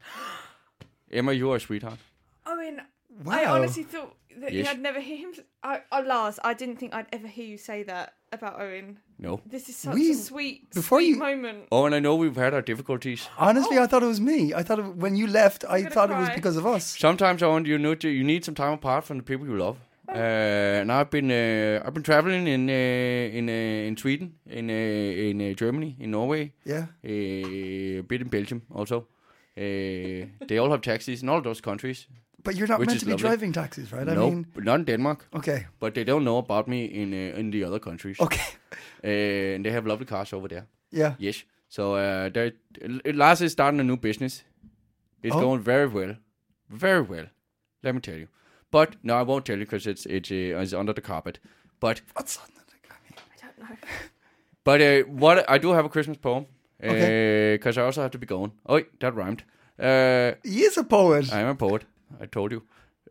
Speaker 5: Emma, you are a sweetheart.
Speaker 4: Owen, I
Speaker 3: Wow.
Speaker 4: honestly thought that
Speaker 5: Yes.
Speaker 4: I'd never hear him. I, oh, Lars, I didn't think I'd ever hear you say that about Owen.
Speaker 5: No,
Speaker 4: This is such
Speaker 3: We-
Speaker 4: a sweet,
Speaker 3: before
Speaker 4: sweet
Speaker 3: you-
Speaker 4: moment.
Speaker 5: Owen, Oh, I know we've had our difficulties.
Speaker 3: Honestly, I thought it was me. I thought it, when you left, I
Speaker 4: gonna
Speaker 3: thought it was
Speaker 4: cry.
Speaker 3: because of us.
Speaker 5: Sometimes, Owen, you need to, you need some time apart from the people you love. Uh, and I've been uh, I've been traveling in uh, in uh, in Sweden, in uh, in uh, Germany, in Norway,
Speaker 3: Yeah.
Speaker 5: uh, a bit in Belgium also. Uh, they all have taxis in all those countries.
Speaker 3: But you're not
Speaker 5: Which
Speaker 3: meant
Speaker 5: is
Speaker 3: to be
Speaker 5: lovely.
Speaker 3: driving taxis, right? I
Speaker 5: no,
Speaker 3: mean,
Speaker 5: but not in Denmark.
Speaker 3: okay,
Speaker 5: But they don't know about me in uh, in the other countries.
Speaker 3: okay,
Speaker 5: Uh, and they have lovely cars over there.
Speaker 3: yeah.
Speaker 5: Yes. So uh, they- L- Lars is starting a new business. It's
Speaker 3: Oh.
Speaker 5: going very well, very well. Let me tell you. But no, I won't tell you because it's it's, uh, it's under the carpet. But
Speaker 3: What's on that? I mean,
Speaker 4: I don't know.
Speaker 5: But uh, what I do have a Christmas poem because
Speaker 3: Okay.
Speaker 5: I also have to be going. Oh, that rhymed. Uh,
Speaker 3: he is a poet.
Speaker 5: I am a poet. I told you.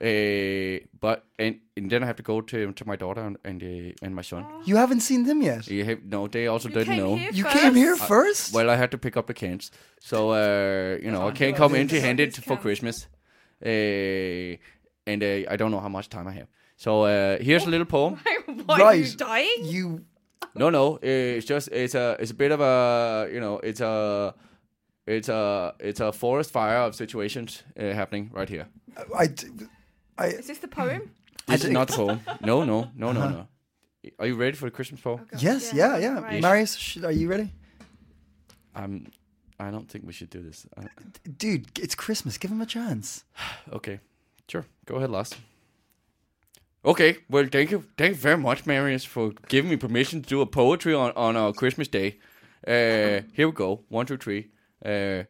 Speaker 5: Uh, but and, and then I have to go to to my daughter and and, uh, and my son.
Speaker 3: you haven't seen them yet.
Speaker 5: You have, no, they also
Speaker 4: Oh. You
Speaker 5: didn't
Speaker 4: came
Speaker 5: know.
Speaker 4: here
Speaker 3: You
Speaker 4: first.
Speaker 3: came here first.
Speaker 5: Well, I had to pick up the cans, so uh, you know I can't come empty-handed for Christmas. Uh, and uh, I don't know how much time I have. So uh, here's a little poem.
Speaker 4: Why are you dying?
Speaker 3: You
Speaker 5: No, no. eh, It's just it's a it's a bit of a you know it's a it's a it's a forest fire of situations uh, happening right here.
Speaker 3: I, d- I
Speaker 4: Is this the poem?
Speaker 5: This is
Speaker 3: think-
Speaker 5: not the poem. No, no, no, no, no. Are you ready for the Christmas poem?
Speaker 3: yes, yeah, yeah.
Speaker 4: Right.
Speaker 3: Marius, sh- are you ready?
Speaker 5: I'm. I don't think we should do this. I,
Speaker 3: Dude, it's Christmas. Give him a chance.
Speaker 5: okay, sure. Go ahead, Lars. Okay. Well, thank you, thank you very much, Marius, for giving me permission to do a poetry on on our Christmas day. Uh, here we go. One, two, three. Uh,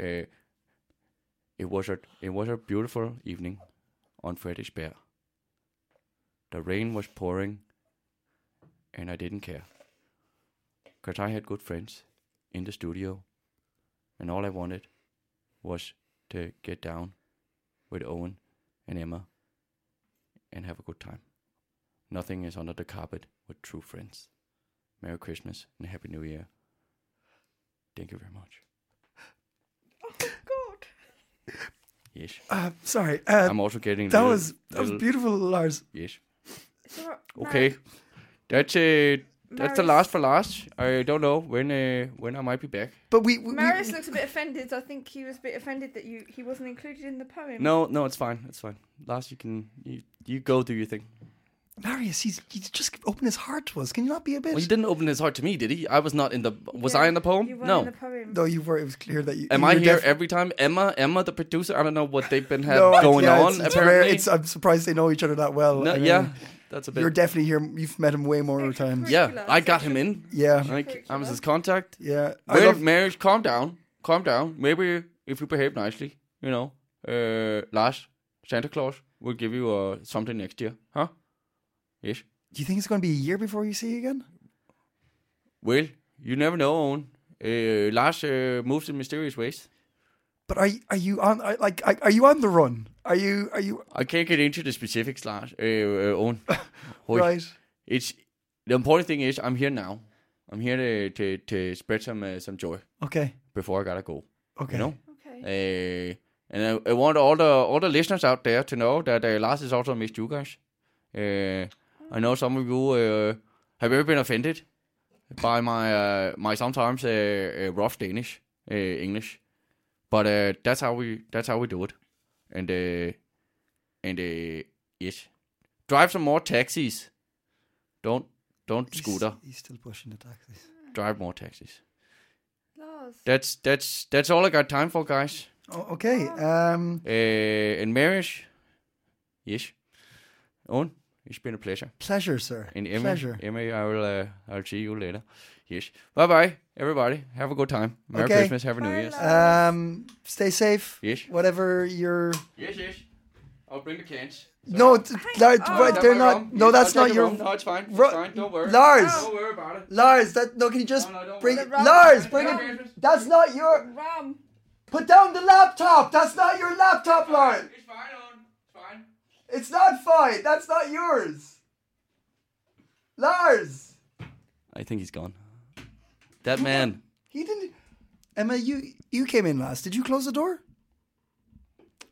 Speaker 5: uh, It was a it was a beautiful evening on Frederiksberg. The rain was pouring, and I didn't care, cause I had good friends in the studio, and all I wanted was to get down with Owen and Emma and have a good time. Nothing is under the carpet with true friends. Merry Christmas and Happy New Year. Thank you very much.
Speaker 4: Oh, God.
Speaker 5: Yes.
Speaker 3: Uh, sorry. Uh,
Speaker 5: I'm also getting
Speaker 3: that
Speaker 5: little-
Speaker 3: was that was
Speaker 5: little-
Speaker 3: beautiful, Lars.
Speaker 5: Yes.
Speaker 4: It's all right.
Speaker 5: Okay. That's uh, that's the
Speaker 4: Marius-
Speaker 5: last for last. I don't know when uh, when I might be back.
Speaker 3: But we, we, we-
Speaker 4: Marius looks a bit offended. I think he was a bit offended that you he wasn't included in the poem.
Speaker 5: No, no, it's fine. It's fine. Last, you can you you go do your thing.
Speaker 3: Marius, he's, he's just opened his heart to us. Can you not be a bit?
Speaker 5: Well, he didn't open his heart to me, did he? I was not in the. Was
Speaker 4: Yeah,
Speaker 5: I in the poem?
Speaker 4: You were
Speaker 5: no.
Speaker 4: In the poem.
Speaker 3: No, you were. It was clear that you.
Speaker 5: Am
Speaker 3: you
Speaker 5: I
Speaker 3: were
Speaker 5: here
Speaker 3: def-
Speaker 5: every time? Emma, Emma, the producer. I don't know what they've been have
Speaker 3: No, it's-
Speaker 5: going
Speaker 3: yeah,
Speaker 5: on.
Speaker 3: It's, it's rare.
Speaker 5: apparently,
Speaker 3: It's, I'm surprised they know each other that well.
Speaker 5: No,
Speaker 3: I mean,
Speaker 5: yeah, that's a bit.
Speaker 3: you're definitely here. You've met him way more times.
Speaker 5: yeah, I got him in.
Speaker 3: Yeah.
Speaker 5: Like I was his contact.
Speaker 3: yeah. I
Speaker 5: Wait,
Speaker 3: love-
Speaker 5: marriage, calm down, calm down. Maybe if you behave nicely, you know, uh, Lars, Santa Claus will give you uh, something next year, huh? Yes.
Speaker 3: do you think it's going to be a year before you see you again?
Speaker 5: Well, you never know. Uh, Lars uh, moves in mysterious ways.
Speaker 3: But are you- are you on? I- Like, I- are you on the run? Are you? Are you
Speaker 5: I can't get into the specifics, Lars. Uh, uh, own.
Speaker 3: right?
Speaker 5: It's the important thing is I'm here now. I'm here to to, to spread some uh, some joy
Speaker 3: Okay.
Speaker 5: before I gotta go.
Speaker 3: Okay.
Speaker 5: You know.
Speaker 4: Okay.
Speaker 5: Uh, and I, I want all the all the listeners out there to know that uh, Lars has also missed you guys. Uh, I know some of you uh, have ever been offended by my uh, my sometimes uh, uh, rough Danish uh, English, but uh, that's how we that's how we do it. And uh, and uh, yes, drive some more taxis. Don't don't scooter.
Speaker 3: He's, he's still pushing the taxis.
Speaker 5: Drive more taxis.
Speaker 4: Lars.
Speaker 5: That's that's that's all I got time for, guys.
Speaker 3: Oh, okay. Um.
Speaker 5: Uh, in marriage, yes. Owen, it's been a pleasure.
Speaker 3: Pleasure, sir.
Speaker 5: And Emma,
Speaker 3: pleasure.
Speaker 5: Emma, I will. Uh, I'll see you later. Yes. Bye bye, everybody. Have a good time. Merry
Speaker 3: Okay.
Speaker 5: Christmas. Have a New
Speaker 4: Bye,
Speaker 5: Year's.
Speaker 4: love.
Speaker 3: Um. Stay safe.
Speaker 5: Yes.
Speaker 3: Whatever your.
Speaker 5: Yes, yes. I'll bring the cans.
Speaker 3: No, t- Lar-
Speaker 4: oh.
Speaker 3: right,
Speaker 4: Am
Speaker 3: they're not. No, that's not your.
Speaker 5: No, it's fine. It's
Speaker 3: Ro-
Speaker 5: fine. Don't worry.
Speaker 3: Lars!
Speaker 5: Don't worry about it.
Speaker 3: Lars, that no. Can you just
Speaker 5: No, no, don't
Speaker 3: bring
Speaker 5: worry.
Speaker 3: it?
Speaker 4: Rum.
Speaker 3: Lars, bring
Speaker 4: Rum.
Speaker 3: it. That's not your.
Speaker 4: Rum.
Speaker 3: Put down the laptop. That's not your laptop, Lars.
Speaker 5: It's fine, Owen. It's fine.
Speaker 3: It's not fine. That's not yours. Lars,
Speaker 5: I think he's gone. That man.
Speaker 3: he didn't. Emma, you you came in last. Did you close the door?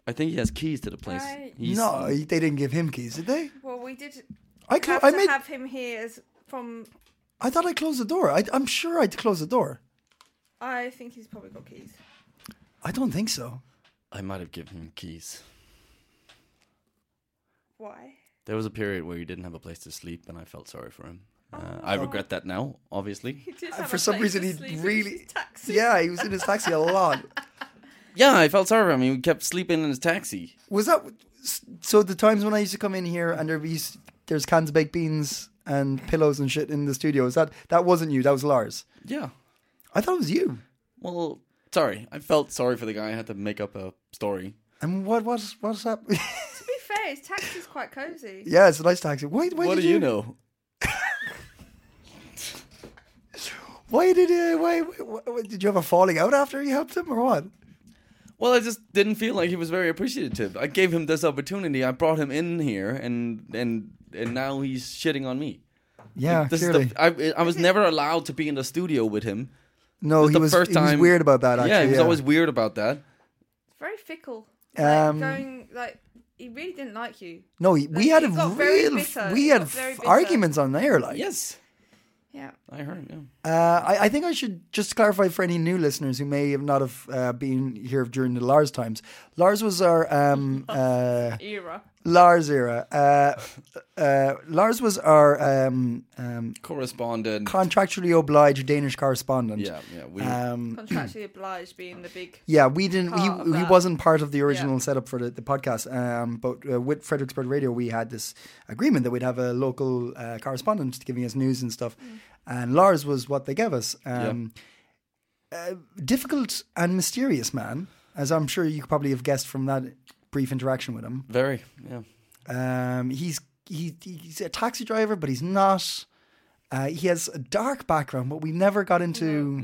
Speaker 5: I think he has keys to the place.
Speaker 4: Right.
Speaker 5: He's,
Speaker 3: no, they didn't give him keys, did they?
Speaker 4: Well, we did
Speaker 3: I clo-
Speaker 4: have
Speaker 3: I
Speaker 4: to
Speaker 3: made.
Speaker 4: have him here as from.
Speaker 3: I thought I closed the door. I, I'm sure I'd close the door.
Speaker 4: I think he's probably got keys.
Speaker 3: I don't think so.
Speaker 5: I might have given him keys.
Speaker 4: Why?
Speaker 5: There was a period where he didn't have a place to sleep, and I felt sorry for him. Uh,
Speaker 3: Oh.
Speaker 5: I regret that now, obviously.
Speaker 4: He did
Speaker 3: Uh,
Speaker 4: have
Speaker 3: for
Speaker 4: a
Speaker 3: some
Speaker 4: place
Speaker 3: reason
Speaker 4: to
Speaker 3: he
Speaker 4: sleep in
Speaker 3: really-
Speaker 4: his Taxi.
Speaker 3: Yeah, he was in his taxi a lot.
Speaker 5: Yeah, I felt sorry for him. He kept sleeping in his taxi.
Speaker 3: Was that so? The times when I used to come in here and there be there's cans of baked beans and pillows and shit in the studio. Is that that wasn't you? That was Lars.
Speaker 5: Yeah.
Speaker 3: I thought it was you.
Speaker 5: Well, sorry. I felt sorry for the guy. I had to make up a story.
Speaker 3: And what what what's up?
Speaker 4: To be fair, his taxi's quite cozy.
Speaker 3: yeah, it's a nice taxi. Wait, why
Speaker 5: what
Speaker 3: did
Speaker 5: do you, know?
Speaker 3: Why did uh, why, why, why did you have a falling out after you helped him or what?
Speaker 5: Well, I just didn't feel like he was very appreciative. I gave him this opportunity. I brought him in here, and and and now he's shitting on me.
Speaker 3: Yeah,
Speaker 5: This
Speaker 3: clearly.
Speaker 5: is the, I, I was never allowed to be in the studio with him.
Speaker 3: no, Oh,
Speaker 5: This is
Speaker 3: he
Speaker 5: the
Speaker 3: was,
Speaker 5: first
Speaker 3: he was
Speaker 5: time-
Speaker 3: weird about that. Actually,
Speaker 5: yeah, he was always weird about that.
Speaker 4: It's very fickle.
Speaker 3: Um,
Speaker 4: like going like he really didn't like you.
Speaker 3: no. He, we had
Speaker 4: he
Speaker 3: a
Speaker 4: got very
Speaker 3: real
Speaker 4: bitter.
Speaker 3: we
Speaker 4: He
Speaker 3: had
Speaker 4: got very
Speaker 3: f-
Speaker 4: bitter.
Speaker 3: arguments on there. Like,
Speaker 5: Yes,
Speaker 4: Yeah.
Speaker 5: I heard. Yeah.
Speaker 3: Uh, I, I think I should just clarify for any new listeners who may have not have uh, been here during the Lars times. Lars was our um, uh,
Speaker 4: Era.
Speaker 3: Lars era. Uh, uh, Lars was our um, um,
Speaker 5: Correspondent.
Speaker 3: contractually obliged Danish correspondent. Um,
Speaker 5: yeah, yeah. We,
Speaker 4: Contractually obliged being the big
Speaker 3: Yeah, we didn't. He,
Speaker 4: Part of
Speaker 3: he
Speaker 4: that.
Speaker 3: wasn't part of the original setup for the, the podcast. Um, but uh, with Fredericksburg Radio, we had this agreement that we'd have a local uh, correspondent giving us news and stuff. And Lars was what they gave us. Um, uh, difficult and mysterious man, as I'm sure you could probably have guessed from that brief interaction with him.
Speaker 5: Very, yeah.
Speaker 3: Um, he's he, he's a taxi driver, but he's not. Uh, he has a dark background, but we never got into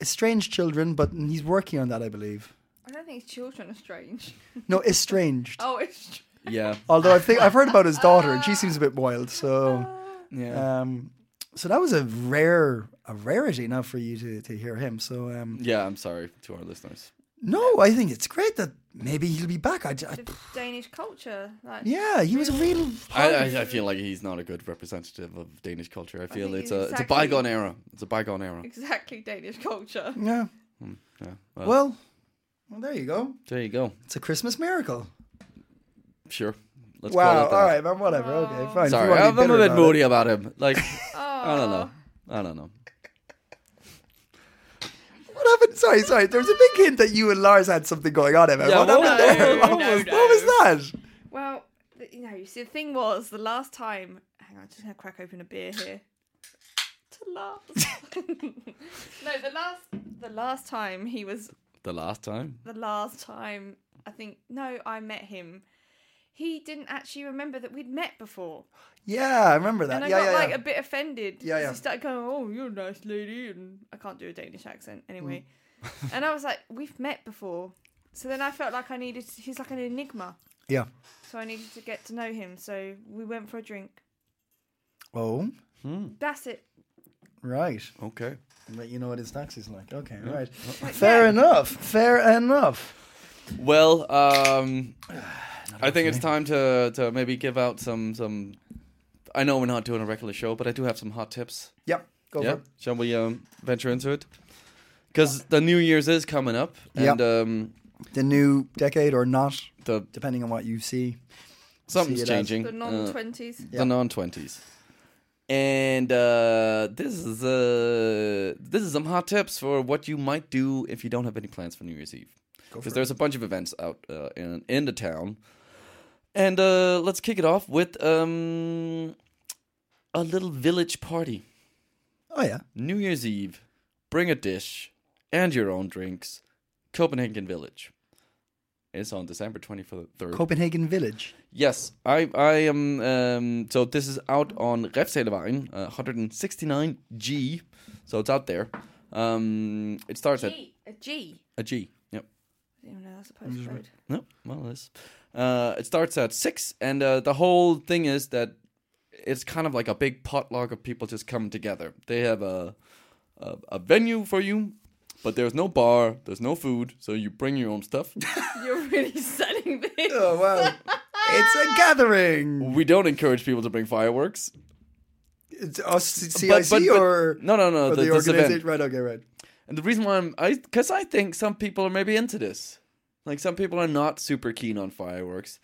Speaker 3: estranged children. But he's working on that, I believe.
Speaker 4: I don't think his children are strange.
Speaker 3: No, estranged.
Speaker 4: Oh, it's tr-
Speaker 5: Yeah.
Speaker 3: Although I think I've heard about his daughter, and she seems a bit wild. So,
Speaker 5: Yeah.
Speaker 3: um, so that was a rare a rarity now for you to to hear him. So, um,
Speaker 5: yeah, I'm sorry to our listeners.
Speaker 3: no, I think it's great that maybe he'll be back. I, I-
Speaker 4: the Danish culture. Like
Speaker 3: yeah, he was a real.
Speaker 5: I, I, I feel like he's not a good representative of Danish culture. I feel
Speaker 4: think
Speaker 5: it's
Speaker 4: he's
Speaker 5: a it's a
Speaker 4: exactly-
Speaker 5: bygone era. It's a bygone era.
Speaker 4: exactly Danish culture.
Speaker 3: Yeah.
Speaker 5: Yeah. Well,
Speaker 3: Well, well, there you go.
Speaker 5: there you go.
Speaker 3: It's a Christmas miracle.
Speaker 5: Sure. Let's call
Speaker 3: Wow.
Speaker 5: it that.
Speaker 3: All right, man. Whatever. Okay, fine. If you
Speaker 5: Sorry,
Speaker 3: wanna be
Speaker 5: I'm, I'm
Speaker 3: bitter
Speaker 5: a bit
Speaker 3: about it.
Speaker 5: moody about him. Like,
Speaker 4: Ah.
Speaker 5: I don't know. I don't know.
Speaker 3: What happened? Sorry, sorry. There was a big hint that you and Lars had something going on, Emma.
Speaker 5: Yeah,
Speaker 3: what
Speaker 5: what
Speaker 3: happened
Speaker 5: was-
Speaker 3: there?
Speaker 5: no,
Speaker 3: What,
Speaker 5: no,
Speaker 3: was,
Speaker 4: no.
Speaker 3: what was that?
Speaker 4: Well, th- you know, you see, the thing was, the last time. Hang on, I'm just gonna crack open a beer here. To laugh. no, the last, the last time he was,
Speaker 5: The last time.
Speaker 4: the last time I think. No, I met him. He didn't actually remember that we'd met before,
Speaker 3: Yeah, I remember that.
Speaker 4: and I
Speaker 3: yeah,
Speaker 4: got
Speaker 3: yeah,
Speaker 4: like
Speaker 3: yeah.
Speaker 4: a bit offended.
Speaker 3: Yeah,
Speaker 4: 'cause
Speaker 3: yeah.
Speaker 4: He started going, "Oh, you're a nice lady," and I can't do a Danish accent anyway.
Speaker 3: Mm.
Speaker 4: and I was like, "We've met before," so then I felt like I needed. He's like an enigma.
Speaker 3: yeah.
Speaker 4: So I needed to get to know him. So we went for a drink.
Speaker 3: Oh,
Speaker 4: That's it.
Speaker 3: right.
Speaker 5: Okay.
Speaker 3: Let you know what his taxi's like. Okay, right.
Speaker 5: Oh.
Speaker 4: Like,
Speaker 3: Fair
Speaker 4: yeah.
Speaker 3: enough. Fair enough.
Speaker 5: Well, um, I think it's time to to maybe give out some some. I know we're not doing a regular show, but I do have some hot tips.
Speaker 3: Yep. Go
Speaker 5: Yeah.
Speaker 3: for it.
Speaker 5: Shall we um, venture into it? Because the New Year's is coming up, and
Speaker 3: Yeah.
Speaker 5: um,
Speaker 3: The new decade or not,
Speaker 5: the
Speaker 3: depending on what you see.
Speaker 5: something's
Speaker 3: it as-
Speaker 5: changing.
Speaker 4: The non twenties.
Speaker 5: the non twenties. And uh, this is uh, this is some hot tips for what you might do if you don't have any plans for New Year's Eve, because there's a bunch of events out uh, in in the town. And uh, let's kick it off with um, a little village party.
Speaker 3: Oh yeah.
Speaker 5: New Year's Eve, bring a dish and your own drinks. Copenhagen Village. It's on December twenty third.
Speaker 3: Copenhagen Village.
Speaker 5: Yes, I I am. Um, so this is out on Refselevejen, uh, 169 G. So it's out there. Um, it starts at
Speaker 4: G. A G.
Speaker 5: a G. Yep.
Speaker 4: I didn't even know that's a
Speaker 3: Mm.
Speaker 4: postcode.
Speaker 5: No, well, it is. Uh, it starts at six, and uh, the whole thing is that it's kind of like a big potluck of people just coming together. They have a a, a venue for you, but there's no bar, there's no food, so you bring your own stuff.
Speaker 4: You're really selling this.
Speaker 3: Oh wow. it's a gathering.
Speaker 5: we don't encourage people to bring fireworks.
Speaker 3: It's us CIC
Speaker 5: But- but- but-
Speaker 3: or
Speaker 5: no, no, no,
Speaker 3: or the
Speaker 5: the- this event.
Speaker 3: organization. Right. Okay. Right.
Speaker 5: And the reason why I'm, I, because I think some people are maybe into this. Like some people are not super keen on fireworks.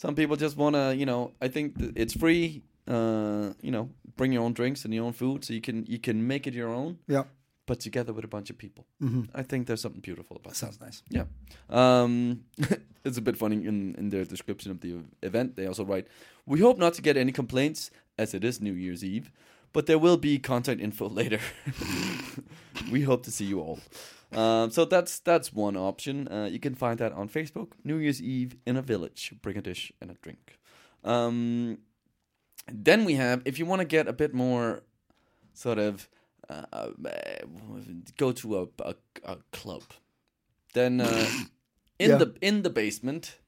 Speaker 5: Some people just want to, you know. I think th- it's free. Uh, you know, bring your own drinks and your own food, so you can you can make it your own,
Speaker 3: Yeah.
Speaker 5: but together with a bunch of people. I think there's something beautiful about that.
Speaker 3: Sounds nice.
Speaker 5: Yeah. Um, it's a bit funny in, in their description of the event. They also write We hope not to get any complaints, as it is New Year's Eve, but there will be contact info later. we hope to see you all. Um, so that's that's one option. Uh, you can find that on Facebook. New Year's Eve in a village. Bring a dish and a drink. Um, then we have, if you want to get a bit more sort of uh, uh, go to a, a, a club, then uh, in
Speaker 3: Yeah.
Speaker 5: the in the basement,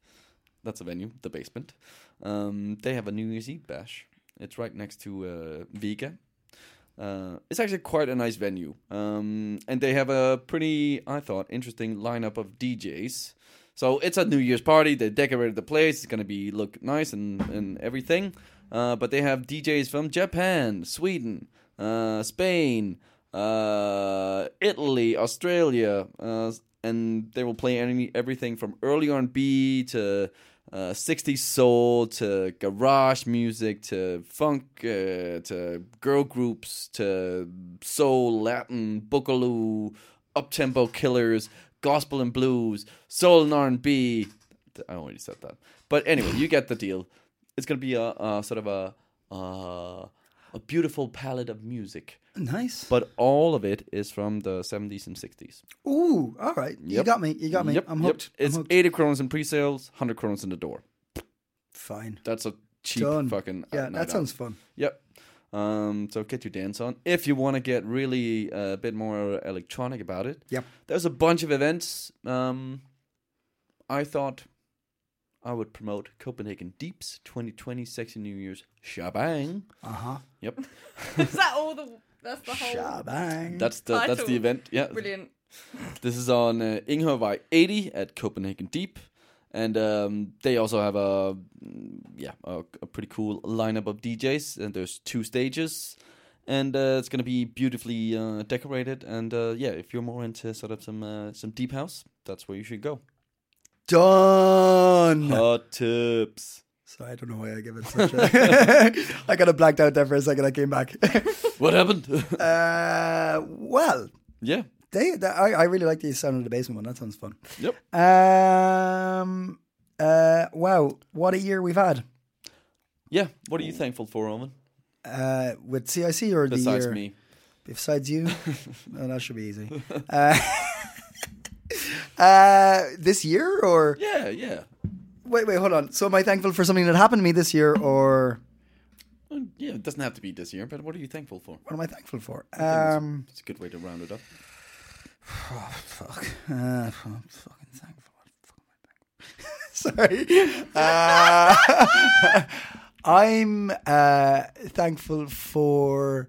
Speaker 5: that's a venue, the basement. Um, they have a New Year's Eve bash. It's right next to uh, Vega. Uh, it's actually quite a nice venue, um, and they have a pretty, I thought, interesting lineup of DJs. So it's a New Year's party. They decorated the place. It's gonna be look nice and and everything. Uh, but they have DJs from Japan, Sweden, uh, Spain, uh, Italy, Australia, uh, and they will play any everything from early R and B to uh, 60s soul to garage music to funk uh, to girl groups to soul, Latin, boogaloo, up-tempo killers, gospel and blues, soul and R&B. I already said that. But anyway, you get the deal. It's going to be a, a sort of a uh, a beautiful palette of music,
Speaker 3: Nice.
Speaker 5: but all of it is from the 70s and 60s.
Speaker 3: Ooh. All right. You
Speaker 5: Yep.
Speaker 3: got me. You got me. I'm hooked. I'm
Speaker 5: It's
Speaker 3: hooked.
Speaker 5: 80 kronos in pre-sales, 100 kronos in the door.
Speaker 3: Fine.
Speaker 5: That's a cheap
Speaker 3: Done.
Speaker 5: fucking uh,
Speaker 3: Yeah.
Speaker 5: night
Speaker 3: That
Speaker 5: out.
Speaker 3: sounds fun.
Speaker 5: Yep. Um, so get your dance on. If you want to get really uh, a bit more electronic about it,
Speaker 3: Yep.
Speaker 5: there's a bunch of events. Um, I thought I would promote Copenhagen Deeps 2020 Sexy New Year's Shabang.
Speaker 3: Uh huh.
Speaker 5: Yep,
Speaker 4: Is that all the? That's the whole.
Speaker 3: Shabang.
Speaker 5: that's the that's the
Speaker 4: Title.
Speaker 5: event. Yeah,
Speaker 4: Brilliant.
Speaker 5: This is on uh, Ingervej 80 at Copenhagen Deep, and um, they also have a mm, yeah a, a pretty cool lineup of DJs. And there's two stages, and uh, it's gonna be beautifully uh, decorated. And uh, yeah, if you're more into sort of some uh, some deep house, that's where you should go.
Speaker 3: Done.
Speaker 5: Hot tips.
Speaker 3: So I don't know why I give it such a. I kind of blacked out there for a second. I came back.
Speaker 5: What happened?
Speaker 3: uh, well,
Speaker 5: yeah.
Speaker 3: they, they- I, I really like the sound of the basement one. That sounds fun.
Speaker 5: Yep.
Speaker 3: Um. Uh. Wow. What a year we've had.
Speaker 5: Yeah. What are you thankful for, Owen?
Speaker 3: Uh, with CIC or
Speaker 5: Besides
Speaker 3: the year
Speaker 5: me.
Speaker 3: besides you. no, that should be easy. Uh, uh, this year or
Speaker 5: Yeah, yeah.
Speaker 3: wait, wait, hold on. So am I thankful for something that happened to me this year, or
Speaker 5: Well, yeah, it doesn't have to be this year, but what are you thankful for?
Speaker 3: what am I thankful for? Um,
Speaker 5: It's a good way to round it up.
Speaker 3: fuck. Uh, I'm fucking thankful. What the fuck am I thankful? Sorry. Uh, I'm uh, thankful for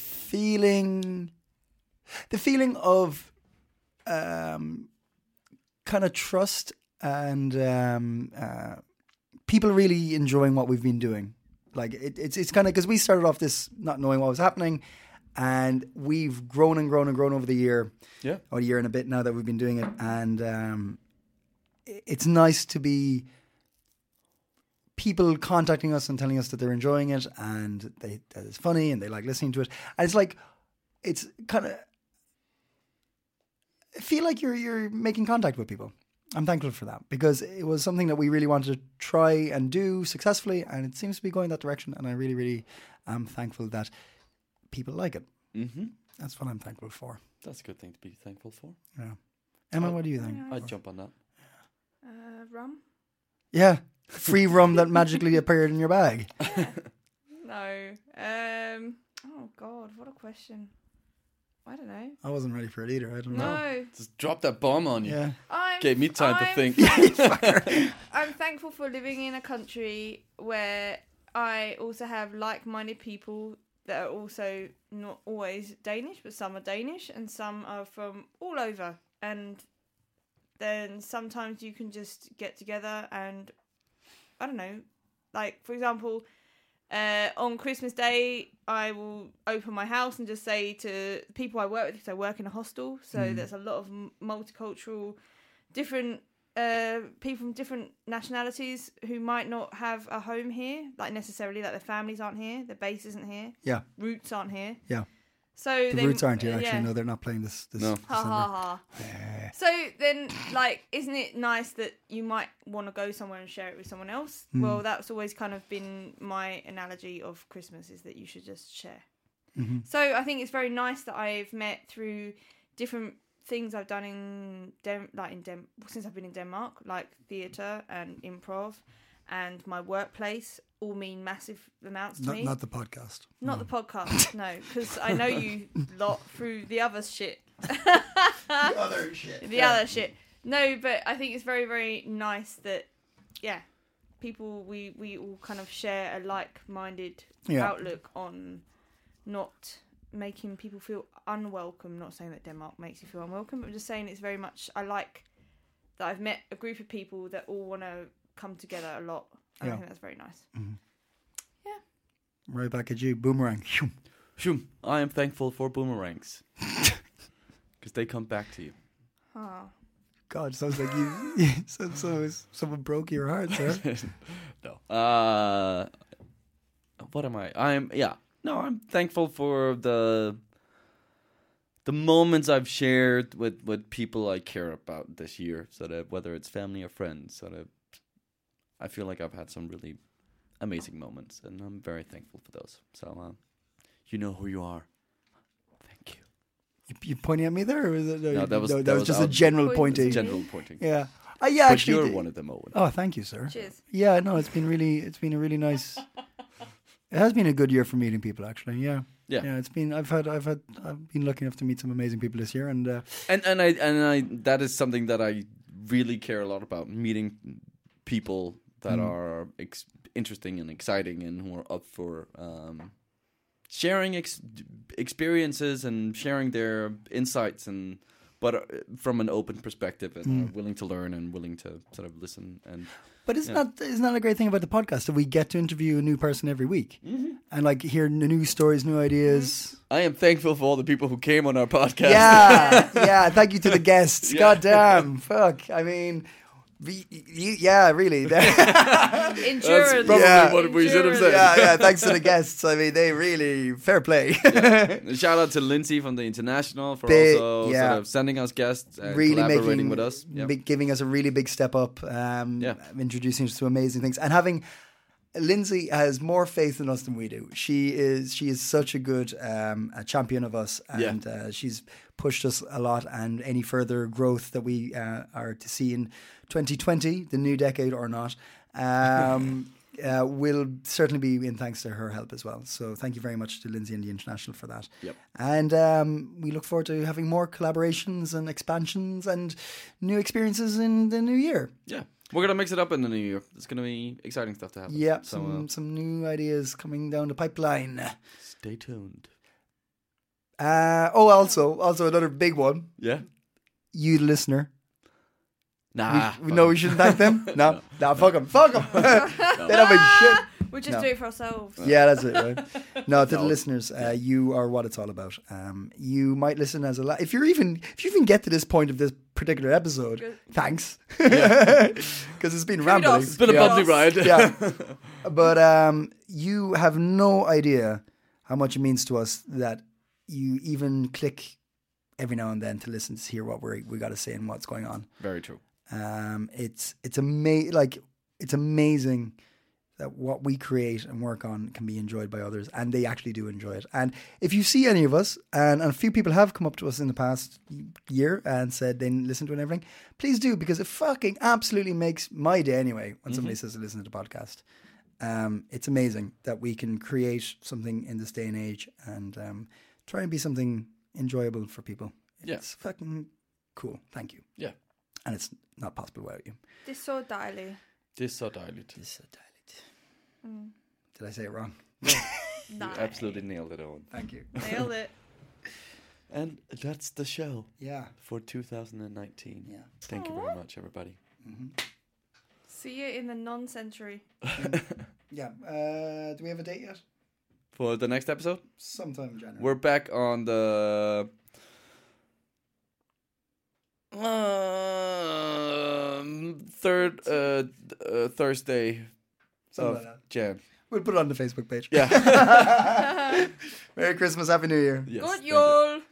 Speaker 3: feeling the feeling of um, kind of trust and um, uh, people really enjoying what we've been doing. Like it, it's it's kind of because we started off this not knowing what was happening, and we've grown and grown and grown over the year,
Speaker 5: Yeah.
Speaker 3: or a year and a bit now that we've been doing it, and um, i- it's nice to be people contacting us and telling us that they're enjoying it and they that it's funny and they like listening to it, and it's like it's kind of feel like you're you're making contact with people. I'm thankful for that because it was something that we really wanted to try and do successfully, and it seems to be going that direction. And I really, really am thankful that people like it.
Speaker 5: Mm-hmm.
Speaker 3: That's what I'm thankful for.
Speaker 5: That's a good thing to be thankful for.
Speaker 3: Yeah. Emma, what do you think?
Speaker 5: I'd jump on that.
Speaker 4: Uh, rum?
Speaker 3: Yeah, free rum that magically appeared in your bag.
Speaker 4: No. Um. Oh God, what a question. I don't know.
Speaker 3: I wasn't ready for it either. I don't
Speaker 4: No.
Speaker 3: know.
Speaker 5: Just drop that bomb on you.
Speaker 3: Yeah,
Speaker 4: I'm,
Speaker 5: Gave me time to
Speaker 4: I'm-
Speaker 5: think.
Speaker 4: I'm thankful for living in a country where I also have like-minded people that are also not always Danish, but some are Danish and some are from all over. And then sometimes you can just get together and I don't know, like for example, uh, on Christmas Day, I will open my house and just say to people I work with because I work in a hostel, so
Speaker 3: Hmm.
Speaker 4: there's a lot of m- multicultural, different uh, people from different nationalities who might not have a home here, like necessarily, like their families aren't here, their base isn't here,
Speaker 3: yeah,
Speaker 4: roots aren't here.
Speaker 3: yeah.
Speaker 4: So
Speaker 3: The
Speaker 4: they-
Speaker 3: roots aren't here.
Speaker 4: uh,
Speaker 3: Actually,
Speaker 4: yeah.
Speaker 3: no, they're not playing this. this
Speaker 5: No.
Speaker 4: Ha
Speaker 3: December.
Speaker 4: ha ha. So then, like, isn't it nice that you might want to go somewhere and share it with someone else?
Speaker 3: Hmm.
Speaker 4: Well, that's always kind of been my analogy of Christmas is that you should just share.
Speaker 3: Mm-hmm.
Speaker 4: So I think it's very nice that I've met through different things I've done in Den- like in Den- since I've been in Denmark, like theatre and improv, and my workplace all mean massive amounts to
Speaker 3: Not,
Speaker 4: me.
Speaker 3: not the podcast.
Speaker 4: Not the podcast, no, because I know you lot through the other shit.
Speaker 3: Other shit.
Speaker 4: The other shit. No, but I think it's very, very nice that, yeah, people we we all kind of share a like-minded
Speaker 3: Yeah.
Speaker 4: outlook on not making people feel unwelcome. Not saying that Denmark makes you feel unwelcome, but I'm just saying it's very much I like that I've met a group of people that all want to come together a lot. and I
Speaker 3: Yeah. Mm.
Speaker 4: think that's very nice.
Speaker 3: Right back at you, boomerang.
Speaker 5: Shoom. I am thankful for boomerangs. Because they come back to you.
Speaker 4: Oh.
Speaker 3: God, sounds like you. so, so someone broke your heart, sir.
Speaker 5: no. Uh, what am I? I'm yeah. No, I'm thankful for the the moments I've shared with with people I care about this year. So that whether it's family or friends, so that I feel like I've had some really amazing moments, and I'm very thankful for those. So uh, you know who you are. Thank you.
Speaker 3: You, you pointing at me there, or was it?
Speaker 5: No, that was-
Speaker 3: that,
Speaker 5: that
Speaker 3: was
Speaker 5: was
Speaker 3: just a
Speaker 5: out-
Speaker 3: general
Speaker 4: Point-
Speaker 3: pointing.
Speaker 5: General pointing.
Speaker 3: yeah, uh, yeah.
Speaker 5: But
Speaker 3: actually,
Speaker 5: you're
Speaker 3: the-
Speaker 5: one of them, Owen.
Speaker 3: Oh, thank you, sir.
Speaker 4: Cheers.
Speaker 3: Yeah, no, it's been really, it's been a really nice. It has been a good year for meeting people, actually. Yeah,
Speaker 5: Yeah.
Speaker 3: yeah. It's been. I've had. I've had. I've been lucky enough to meet some amazing people this year, and uh,
Speaker 5: and and I and I that is something that I really care a lot about meeting people that
Speaker 3: Mm.
Speaker 5: are ex- interesting and exciting and who are up for um, sharing ex- experiences and sharing their insights and but uh, from an open perspective and
Speaker 3: Mm.
Speaker 5: are willing to learn and willing to sort of listen and
Speaker 3: But isn't that isn't that a great thing about the podcast that we get to interview a new person every week and like hear n- new stories, new ideas.
Speaker 5: I am thankful for all the people who came on our podcast.
Speaker 3: Yeah, yeah. Thank you to the guests. God damn, fuck. I mean, Re- y- y- yeah, really. yeah,
Speaker 4: Endurance.
Speaker 5: probably
Speaker 3: Yeah.
Speaker 5: what we should have said.
Speaker 4: Endurance.
Speaker 3: yeah. Thanks to the guests. I mean, they really fair play.
Speaker 5: Shout out to Lindsay from the International for
Speaker 3: Big-
Speaker 5: also
Speaker 3: yeah.
Speaker 5: sort of sending us guests and
Speaker 3: really
Speaker 5: uh, collaborating
Speaker 3: making
Speaker 5: with us. Yeah.
Speaker 3: big- giving us a really big step up. Um,
Speaker 5: Yeah.
Speaker 3: introducing us to amazing things and having. Lindsay has more faith in us than we do. She is she is such a good um, a champion of us, and uh, she's pushed us a lot. And any further growth that we uh, are to see in 2020, the new decade or not, um, uh, will certainly be in thanks to her help as well. So thank you very much to Lindsay and the International for that.
Speaker 5: Yep.
Speaker 3: And um, we look forward to having more collaborations and expansions and new experiences in the new year.
Speaker 5: yeah. We're gonna mix it up in the new year. It's gonna be exciting stuff to happen.
Speaker 3: Yeah, Mm.
Speaker 5: So
Speaker 3: some
Speaker 5: uh,
Speaker 3: some new ideas coming down the pipeline.
Speaker 5: stay tuned.
Speaker 3: Uh, oh, also, also another big one.
Speaker 5: Yeah.
Speaker 3: You, the listener, we,
Speaker 5: Nah.
Speaker 3: we know we shouldn't thank them. No, no, fuck them, fuck them. they don't make shit.
Speaker 4: We just
Speaker 3: No.
Speaker 4: do it for ourselves.
Speaker 3: Yeah, that's it. Right? No, to the listeners, uh, you are what it's all about. Um, you might listen as a la- if you're even if you even get to this point of this particular episode.
Speaker 4: Good.
Speaker 3: Thanks, because it's been rambling.
Speaker 4: Kudos.
Speaker 5: It's been a
Speaker 4: Yeah.
Speaker 5: bumpy ride.
Speaker 3: yeah. But um, you have no idea how much it means to us that you even click every now and then to listen to hear what we we got to say and what's going on.
Speaker 5: Very true.
Speaker 3: Um, it's it's ama- like it's amazing that what we create and work on can be enjoyed by others, and they actually do enjoy it. And if you see any of us, and, and a few people have come up to us in the past year and said they listen to it and everything, please do because it fucking absolutely makes my day anyway when somebody
Speaker 5: Mm-hmm.
Speaker 3: says they listen to the podcast. Um, it's amazing that we can create something in this day and age and um, try and be something enjoyable for people.
Speaker 5: Yeah.
Speaker 3: It's fucking cool. Thank you
Speaker 5: Yeah.
Speaker 3: and it's not possible without you.
Speaker 4: This so daily.
Speaker 5: This so diluted.
Speaker 3: Did I say it wrong?
Speaker 4: Nice.
Speaker 5: Absolutely nailed it on.
Speaker 3: Thank you.
Speaker 4: Nailed it.
Speaker 5: And that's the show
Speaker 3: Yeah.
Speaker 5: for 2019.
Speaker 3: Yeah.
Speaker 5: Thank you very much, everybody.
Speaker 4: See you in the non-century.
Speaker 3: Yeah. Uh, do we have a date yet?
Speaker 5: For the next episode,
Speaker 3: Sometime in January.
Speaker 5: we're back on the. Um, third uh, th- uh, Thursday
Speaker 3: Something
Speaker 5: of
Speaker 3: like that.
Speaker 5: Jan.
Speaker 3: We'll put it on the Facebook page.
Speaker 5: Yeah.
Speaker 3: Merry Christmas. Happy New Year.
Speaker 4: Good
Speaker 5: yes, thank you.
Speaker 4: y'all.